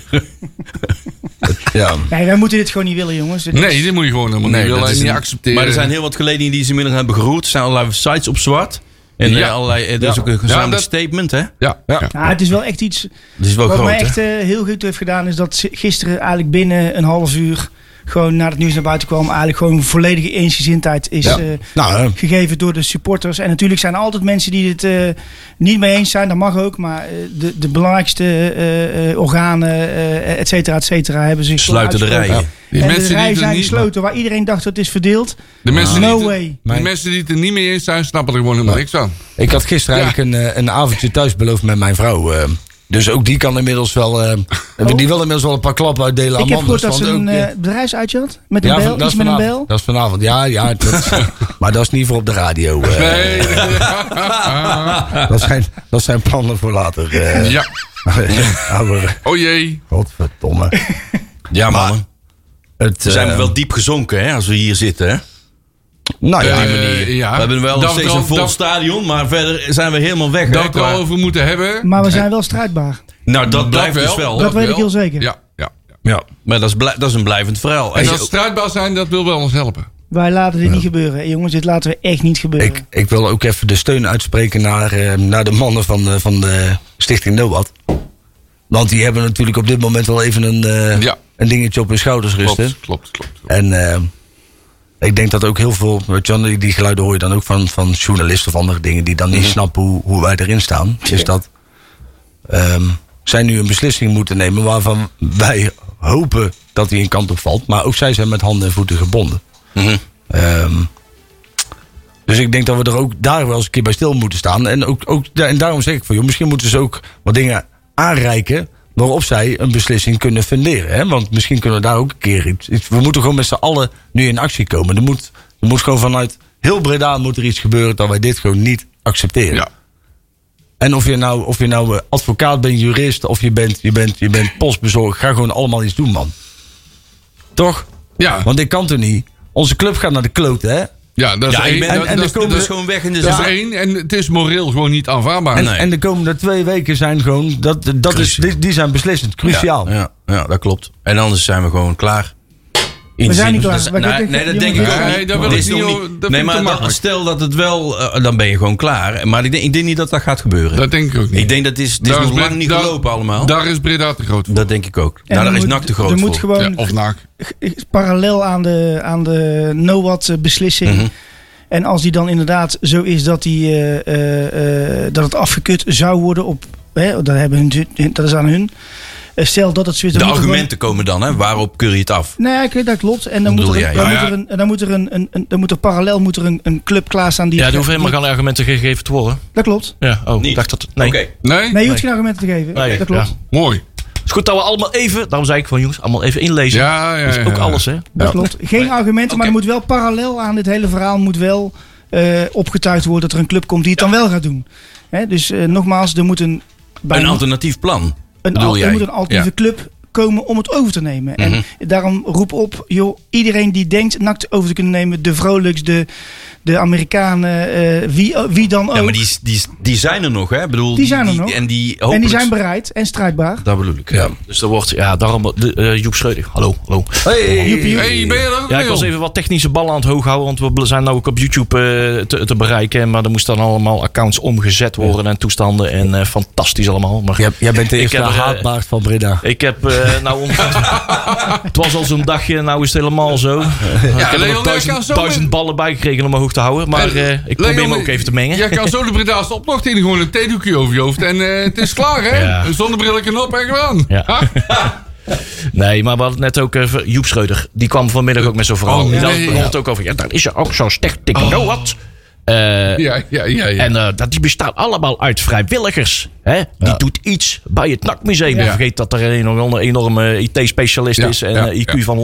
S3: Ja.
S6: Nee, wij moeten dit gewoon niet willen, jongens. Dit
S5: nee, dit moet je gewoon helemaal
S4: Nee,
S5: niet,
S4: dat
S5: willen en
S4: is
S5: niet
S4: een-
S5: accepteren.
S4: Maar er zijn heel wat geledingen die ze inmiddels hebben geroerd. Er zijn allerlei sites op zwart. En
S5: Ja.
S4: eh, allerlei, eh, er is
S5: Ja.
S4: ook een gezamenlijk
S5: Ja, dat-
S4: statement, hè?
S5: Ja, ja.
S6: Nou, het is wel echt iets.
S4: Dat is wel
S6: Wat
S4: groot,
S6: mij
S4: hè?
S6: echt eh, heel goed heeft gedaan, is dat ze gisteren eigenlijk binnen een half uur. gewoon nadat het nieuws naar buiten kwam. eigenlijk gewoon volledige eensgezindheid is
S3: Ja.
S6: eh,
S3: Nou, hè.
S6: gegeven door de supporters. En natuurlijk zijn er altijd mensen die het eh, niet mee eens zijn. Dat mag ook. Maar eh, de, de belangrijkste eh, eh, organen, eh, et cetera, et cetera, hebben zich. gewoon
S4: Sluiten de
S6: uitgesproken.
S4: rijen.
S5: Die
S6: En
S5: mensen
S6: de
S5: die
S6: rijen
S5: het er
S6: zijn
S5: niet-
S6: gesloten. Waar iedereen dacht dat het is verdeeld.
S5: De mensen,
S6: No
S5: die, het-
S6: way.
S5: de mensen die het er niet mee eens zijn, snappen er gewoon helemaal niks van.
S3: Ik had gisteren
S5: Ja.
S3: eigenlijk een, eh, een avondje thuis beloofd met mijn vrouw. eh, Dus ook die kan inmiddels wel.
S4: Oh.
S3: eh, Die wil inmiddels wel een paar klappen uitdelen
S6: ik
S3: aan
S6: heb gehoord
S3: anders.
S6: dat ze
S3: want
S6: een
S3: ook, eh,
S6: eh, bedrijfsuitje had. Met een
S3: ja,
S6: bel.
S3: van- dat
S6: Iets
S3: is
S6: met een
S3: vanavond.
S6: bel.
S3: Dat is vanavond. Ja, ja. dat- maar dat is niet voor op de radio. eh.
S5: Nee.
S3: dat, zijn, dat zijn plannen voor later. eh.
S5: ja.
S3: Ja, maar-
S5: Oh jee.
S3: Godverdomme.
S4: Ja, man.
S3: Het,
S4: We zijn
S3: eh,
S4: wel diep gezonken hè, als we hier zitten. Hè?
S3: Nou ja,
S5: Eh, ja.
S4: We hebben wel
S5: Dat
S4: nog
S5: we
S4: steeds
S5: er al-
S4: een vol
S5: dat-
S4: stadion, maar verder zijn we helemaal weg.
S5: Dat
S4: hè,
S5: we het er
S4: qua-
S5: al over moeten hebben.
S6: Maar we zijn wel strijdbaar.
S4: Nou, dat blijft dus wel.
S6: Dat- weet ik heel zeker.
S5: Ja, ja.
S3: ja.
S4: Maar dat is, blij- dat is een blijvend verhaal.
S5: En
S4: Als
S5: dat
S4: je-
S5: strijdbaar zijn, dat wil wel ons helpen.
S6: Wij laten dit niet gebeuren. Jongens, dit laten we echt niet gebeuren.
S4: Nou,
S3: Ik, ik wil ook even de steun uitspreken naar, eh, naar de mannen van de, van de Stichting NOAD. Want die hebben natuurlijk op dit moment wel even een, eh,
S5: Ja.
S3: een dingetje op hun schouders rusten.
S5: Klopt, klopt, klopt. klopt.
S3: En eh, ik denk dat ook heel veel, weet je wel, die- die geluiden hoor je dan ook van, van journalisten of andere dingen die dan
S5: Mhm.
S3: niet snappen hoe, hoe wij erin staan. Is dat ehm, zij nu een beslissing moeten nemen waarvan wij hopen dat die een kant op valt. Maar ook zij zijn met handen en voeten gebonden.
S4: Mhm.
S3: Ehm, dus ik denk dat we er ook daar wel eens een keer bij stil moeten staan. En, ook, ook, ja, en daarom zeg ik van, joh, misschien moeten ze ook wat dingen aanreiken waarop zij een beslissing kunnen funderen. Hè? Want misschien kunnen we daar ook een keer iets, iets- We moeten gewoon met z'n allen nu in actie komen. Er moet, er moet gewoon vanuit heel Breda moet er iets gebeuren dat wij dit gewoon niet accepteren.
S5: Ja.
S3: En of je nou, of je nou eh, advocaat bent, jurist of je bent, je bent, je bent postbezorgd, ga gewoon allemaal iets doen, man. Toch?
S5: Ja,
S3: Want dit kan toch niet? Onze club gaat naar de klote, hè?
S5: ja, dat is
S4: ja,
S5: één.
S4: ik ben,
S5: dat,
S4: dat,
S3: en
S4: dat
S5: dat
S3: er komen-
S4: is,
S5: is-
S4: dat is gewoon weg in de
S5: dat is
S4: zaal.
S5: één. En het is moreel gewoon niet aanvaardbaar.
S3: En,
S5: Nee.
S3: en de komende twee weken zijn gewoon. Dat, dat is,
S4: Cruciaal.
S3: die, die zijn beslissend, cruciaal.
S4: Ja, ja, ja, dat klopt. En anders zijn we gewoon klaar.
S6: we zijn niet
S4: Dus
S6: klaar.
S4: dat-
S6: Wij
S4: nee,
S6: kunnen-
S4: nee, dat
S6: jongens,
S4: denk ik
S6: dit-
S4: ook
S5: Nee,
S4: niet.
S5: dat wil
S4: Dit
S5: ik
S4: is
S5: niet,
S4: nog
S5: joh. Dat vind
S4: nee,
S5: ik te
S4: maar dat-
S5: makkelijk.
S4: stel dat het wel... eh, dan ben je gewoon klaar. Maar ik denk, ik denk niet dat dat gaat gebeuren.
S5: Dat denk ik ook niet.
S4: ik denk dat het is, het is
S5: Daar
S4: nog
S5: Brit-
S4: lang niet
S5: daar-
S4: gelopen allemaal.
S5: Daar is Breda te groot voor.
S4: dat denk ik ook.
S6: En
S4: Nou, daar
S6: er
S4: is
S6: moet-
S4: NAC te groot
S6: Er moet
S4: voor.
S5: Ja,
S6: gewoon
S5: of naak.
S6: g- parallel aan de, aan de NOAD-beslissing.
S4: Mhm.
S6: En als die dan inderdaad zo is dat, die, eh, eh, eh, dat het afgekut zou worden op... Hè, dat, hebben hun, hun- dat is aan hun. Eh, stel dat het zo is...
S4: De
S6: dan moet er
S4: argumenten komen dan, hè? Waarop keur je het af?
S6: gewoon- Nee, ik weet, dat klopt. En dan
S4: Dat
S6: moet er,
S4: bedoel
S6: een-
S4: jij.
S6: dan
S5: Ja,
S6: moet er
S5: ja.
S6: een- dan moet er een- een- een- dan moet er parallel moet er een, een club klaarstaan. Die
S1: Ja, er hoeven helemaal geen argumenten gegeven te worden.
S6: Dat klopt.
S1: Ja, oh,
S4: Niet.
S1: ik dacht dat... Nee.
S4: Oké.
S5: Nee?
S6: Nee, je hoeft geen argumenten te geven.
S1: Nee,
S6: dat klopt.
S1: ja.
S5: Mooi.
S1: Het is goed dat we allemaal even... Daarom zei ik van jongens, allemaal even inlezen.
S5: Ja, ja,
S1: Dat is
S5: ja,
S1: ook
S5: ja.
S1: alles, hè.
S6: Dat klopt. Geen argumenten, maar
S4: Oké.
S6: er moet wel parallel aan dit hele verhaal moet wel eh, opgetuigd worden dat er een club komt die het dan wel gaat doen. Hè, dus eh, nogmaals, er moet een, bij
S4: Een alternatief plan.
S6: een,
S4: bedoel
S6: al- er
S4: jij? Mhm.
S6: moet een alternatieve club komen om het over te nemen. En daarom roep op, joh, iedereen die denkt nakt over te kunnen nemen, de Vrolijks, de, de Amerikanen, eh, wie, wie dan ook.
S4: Ja, maar die, die, die zijn er nog, hè? Ik Bedoel,
S6: Die zijn er nog.
S4: En die,
S6: en die
S4: hopelijk-
S6: zijn bereid en strijdbaar.
S4: Dat bedoel ik, ja.
S1: Dus er wordt... Ja, daarom... De, eh, Joep Schreuder. Hallo, hallo.
S3: Hey.
S5: hey, ben je er ook
S1: Ja, ik
S5: mee,
S1: was
S5: joh?
S1: even wat technische ballen aan het hoog houden. Want we zijn nou ook op YouTube eh, te, te bereiken. Maar er moesten dan allemaal accounts omgezet worden en toestanden. En eh, fantastisch allemaal. Maar
S3: Jij, jij bent de
S1: Ik
S3: eerste
S1: heb er, eh,
S3: haatbaard van Breda.
S1: ik heb eh, nou... om- het was al zo'n dagje, nou is het helemaal zo. ik heb
S5: Leon,
S1: er nog
S5: jij kan
S1: duizend,
S5: zo
S1: duizend
S5: met-
S1: ballen bij gekregen om omhoog te houden. Maar
S5: En,
S1: eh, ik probeer
S5: Leon,
S1: hem ook even te mengen.
S5: Jij kan zo de Breda's opdracht in. Gewoon een theedoekje over je hoofd. En eh, het is klaar, hè?
S1: Ja.
S5: Een zonnebrilletje op en gedaan.
S1: Ja.
S5: Ha?
S1: Nee, maar we hadden het net ook even. Joep Schreuder, die kwam vanmiddag ook met zo'n verhaal.
S5: Oh,
S1: En dan
S5: nee.
S1: begon het ook over. Ja, daar is er ook zo'n stichting. Nou wat?
S5: Oh.
S1: Eh,
S5: Ja, ja, ja. ja.
S1: En eh, dat, die bestaat allemaal uit vrijwilligers. Hè? Die doet iets bij het NAC-museum.
S5: Ja.
S1: Vergeet dat er een enorme, enorme IT-specialist
S5: Ja,
S1: is. En
S5: ja,
S1: eh, IQ
S5: ja.
S1: van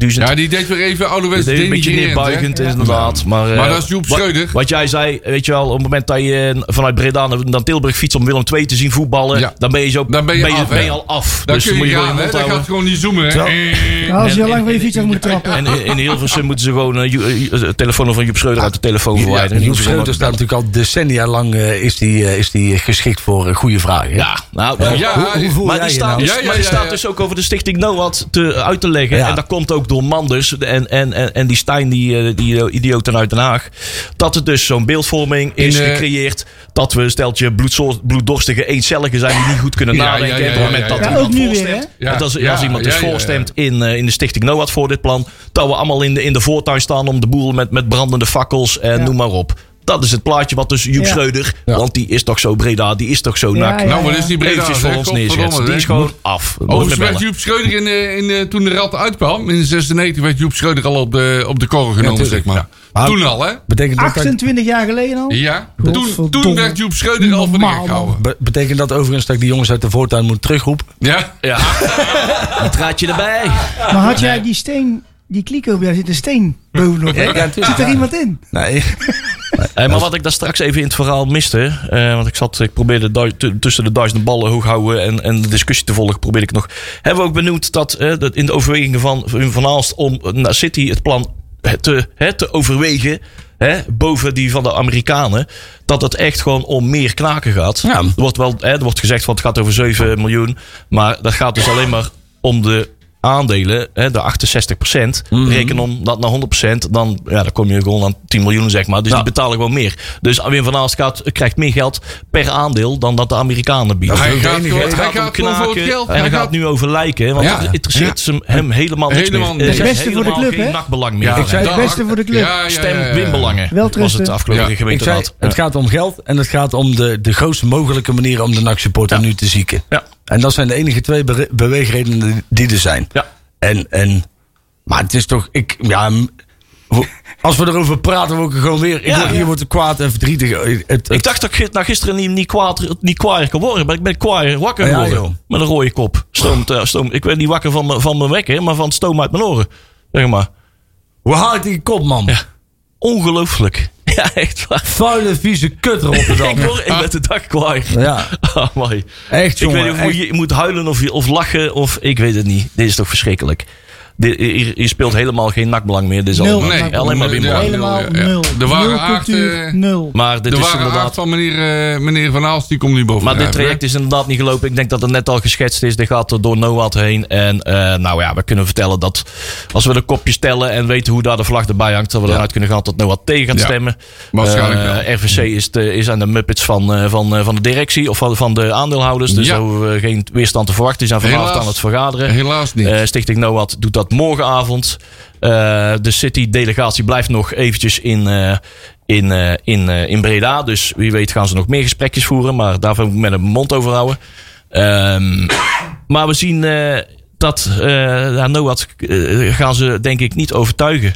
S1: 180.000.
S5: ja, die deed weer even ouderwets
S1: Dit is een beetje
S5: denigrerend, hè?
S1: neerbuigend, is inderdaad. Maar, eh,
S5: Maar dat is Joep
S1: wat-
S5: Schreuder.
S1: Wat, jij zei, weet je wel, op het moment dat je eh, vanuit Breda naar naar Tilburg fietst om Willem II te zien voetballen,
S5: Ja.
S1: dan ben je, zo,
S5: Dan ben je af, hè?
S1: al af.
S5: Daar
S1: dus
S5: kun
S1: dan
S5: je,
S1: moet je gewoon
S5: gaan,
S1: je
S5: hè?
S1: mond
S5: Dat gaat
S1: houden.
S5: gewoon niet zoomen, hè? Eh,
S6: Nou, als je
S1: en-
S6: al lang
S1: en-
S6: van je fiets af moet trappen.
S1: En in Hilversum moeten ze gewoon eh, Ju- eh, de telefoon van Joep Schreuder uit de telefoon
S3: Ja,
S1: verwijderen.
S3: Joep Schreuter staat natuurlijk al decennia lang eh, is die, eh, is die geschikt voor eh, goede vragen.
S1: Ja, nou, eh,
S5: Ja,
S3: Hoe, hoe voel
S1: maar,
S3: jij
S1: die
S3: je
S1: staat
S3: nou?
S1: dus,
S5: Ja, ja,
S1: maar die
S5: ja,
S1: staat
S5: ja.
S1: dus ook over de stichting NOAD te, eh, uit te leggen.
S3: Ja.
S1: En dat komt ook door Manders en, en, en, en die Stijn, die, eh, die eh, idioten uit Den Haag. Dat het dus zo'n beeldvorming is
S5: In, eh,
S1: gecreëerd. Dat we een steltje bloedso- bloeddorstige eencelligen zijn die niet goed kunnen
S5: Ja, ja,
S1: nadenken.
S5: ja,
S1: En op het moment
S5: ja,
S1: dat
S5: ja, ja.
S6: Ja, ook
S1: iemand
S6: nu weer,
S1: voorstemt.
S5: hè? Ja,
S1: want als,
S5: ja,
S1: als iemand
S5: ja,
S1: dus
S5: ja, ja.
S1: voorstemt in, eh, in de stichting NOAD voor dit plan. Dat we allemaal in de, in de voortuin staan om de boel met, met brandende fakkels en
S6: Ja.
S1: noem maar op. Dat is het plaatje wat dus Joep
S6: Ja.
S1: Schreuder,
S5: Ja.
S1: want die is toch zo Breda, die is toch zo
S6: Ja,
S1: nak.
S6: ja.
S5: Nou, wat is die Breda?
S1: Eventjes voor
S5: zeg,
S1: ons
S5: godverdomme, Oh,
S1: neerzetten. Die
S5: zeg.
S1: is gewoon af. Nooit
S5: Overigens
S1: meer
S5: werd
S1: bellen.
S5: Joep Schreuder in, eh, in, eh, toen de rat uitkwam, in 96, werd Joep Schreuder al op de, op de korrel genomen,
S3: tuurlijk,
S5: zeg maar.
S3: ja. Maar-
S5: Toen al, hè?
S3: Betekent dat, dat,
S6: 28 jaar geleden al?
S5: Ja. Toen, toen
S6: Godverdomme.
S5: werd Joep Schreuder al van de gek
S6: Normaal, man.
S5: gehouden.
S3: be- betekent dat overigens dat ik die jongens uit de voortuin moet terugroepen?
S5: Ja?
S1: Ja, een traatje erbij.
S6: Maar had jij die steen, die kliko, daar zit een steen bovenop. hè? zit er iemand in?
S3: Nee.
S1: Hé, maar wat ik daar straks even in het verhaal miste, eh, want ik, zat, ik probeerde du- tu- tussen de duizenden ballen hoog houden en, en de discussie te volgen, probeerde ik nog. Hebben we ook benoemd dat, eh, dat in de overwegingen van Wim Van Aalst om eh, naar City het plan eh, te, hè, te overwegen, hè, boven die van de Amerikanen, dat het echt gewoon om meer knaken gaat.
S3: Ja.
S1: Er, wordt wel, hè, er wordt gezegd van het gaat over 7 miljoen, maar dat gaat dus alleen maar om de aandelen, hè, de 68%.
S5: Mhm.
S1: Reken om dat naar 100%, dan, ja, dan kom je gewoon aan 10 miljoen, zeg maar. Dus die betalen gewoon meer. Dus Wim van Aalst gaat, krijgt meer geld per aandeel dan dat de Amerikanen bieden.
S5: Hij gaat,
S3: enige,
S5: gewoon-
S3: hè?
S5: hij gaat,
S1: om
S5: gewoon voor het geld.
S1: en hij gaat nu over lijken, want
S5: Ja.
S1: het interesseert hem- hem helemaal niks
S5: Helemaal
S1: meer.
S5: niks.
S1: Er is
S6: Beste voor de
S1: helemaal
S6: club, hè?
S1: geen nachtbelang meer.
S5: Ja,
S1: Ja,
S6: Ik zei het
S5: dag.
S6: beste voor de club.
S5: Ja, ja, ja, ja, ja.
S1: Stem winbelangen was
S6: Welterusten.
S1: het de afgelopen
S5: Ja.
S3: Ik zei,
S1: gemeenteraad.
S3: het gaat om geld en het gaat om de, de grootst mogelijke manier om de NAC-supporter nu te zieken.
S1: Ja.
S3: En dat zijn de enige twee bere- beweegredenen die er zijn.
S1: Ja.
S3: En, en, maar het is toch, ik, ja, m- hoe- als we erover praten, word ik er gewoon weer, ik
S1: Ja.
S3: word, hier wordt kwaad en verdrietig. Eh, Het- het-
S1: Ik dacht dat ik na gisteren niet, niet, kwaad, niet kwaaier kon worden, maar ik ben kwaaier wakker
S3: Ja,
S1: geworden.
S3: joh.
S1: met een rode kop. Stroomt, eh, stoom. Ik werd niet wakker van, mijn- van mijn wekker, maar van het stoom uit mijn oren. Zeg maar.
S3: hoe haalt die kop, man?
S1: Ongelooflijk. Ja, echt waar.
S3: Vuile, vieze kut Rotterdam.
S1: Ik, word, ik ben de dag kwaaier.
S3: ja,
S1: Ah, mooi.
S3: echt
S1: Ik
S3: jongen.
S1: weet niet of
S3: echt.
S1: je- je moet huilen of, je- of lachen of ik weet het niet. Dit is toch verschrikkelijk. Dit, hier, hier speelt helemaal geen nakbelang meer. Dit is
S6: Nul
S1: alleen maar,
S5: nakbelang.
S1: alleen maar
S5: Nee,
S1: winbelang.
S5: ja.
S6: Helemaal
S5: ja.
S6: nul.
S5: De ware
S6: nul
S5: aard,
S6: cultuur,
S5: eh,
S6: nul.
S1: Maar dit
S5: De
S1: is
S5: ware aard
S1: inderdaad
S5: van meneer, eh, meneer Van Aalst, die komt niet boven.
S1: Maar dit
S5: drijven, hè?
S1: traject is inderdaad niet gelopen. Ik denk dat het net al geschetst is. Dit gaat er door NOAD heen. En eh, nou ja, we kunnen vertellen dat als we de kopjes tellen en weten hoe daar de vlag erbij hangt, dat we eruit kunnen gaan dat NOAD tegen gaat
S5: Ja,
S1: stemmen.
S5: waarschijnlijk
S1: Eh,
S5: wel.
S1: RVC is, de, is aan de Muppets van, eh, van, eh, van de directie of van, van de aandeelhouders. Dus
S5: Ja.
S1: daar hoeven we geen weerstand te verwachten. Die zijn vanavond
S5: Helaas.
S1: aan het vergaderen.
S5: Helaas niet.
S1: Eh, Stichting NOAD doet dat morgenavond. Eh, de City-delegatie blijft nog eventjes in, eh, in, eh, in, eh, in Breda. Dus wie weet gaan ze nog meer gesprekjes voeren. Maar daarvoor moet ik met een mond over houden. Ehm, maar we zien eh, dat eh ja, NOAD eh, gaan ze denk ik niet overtuigen.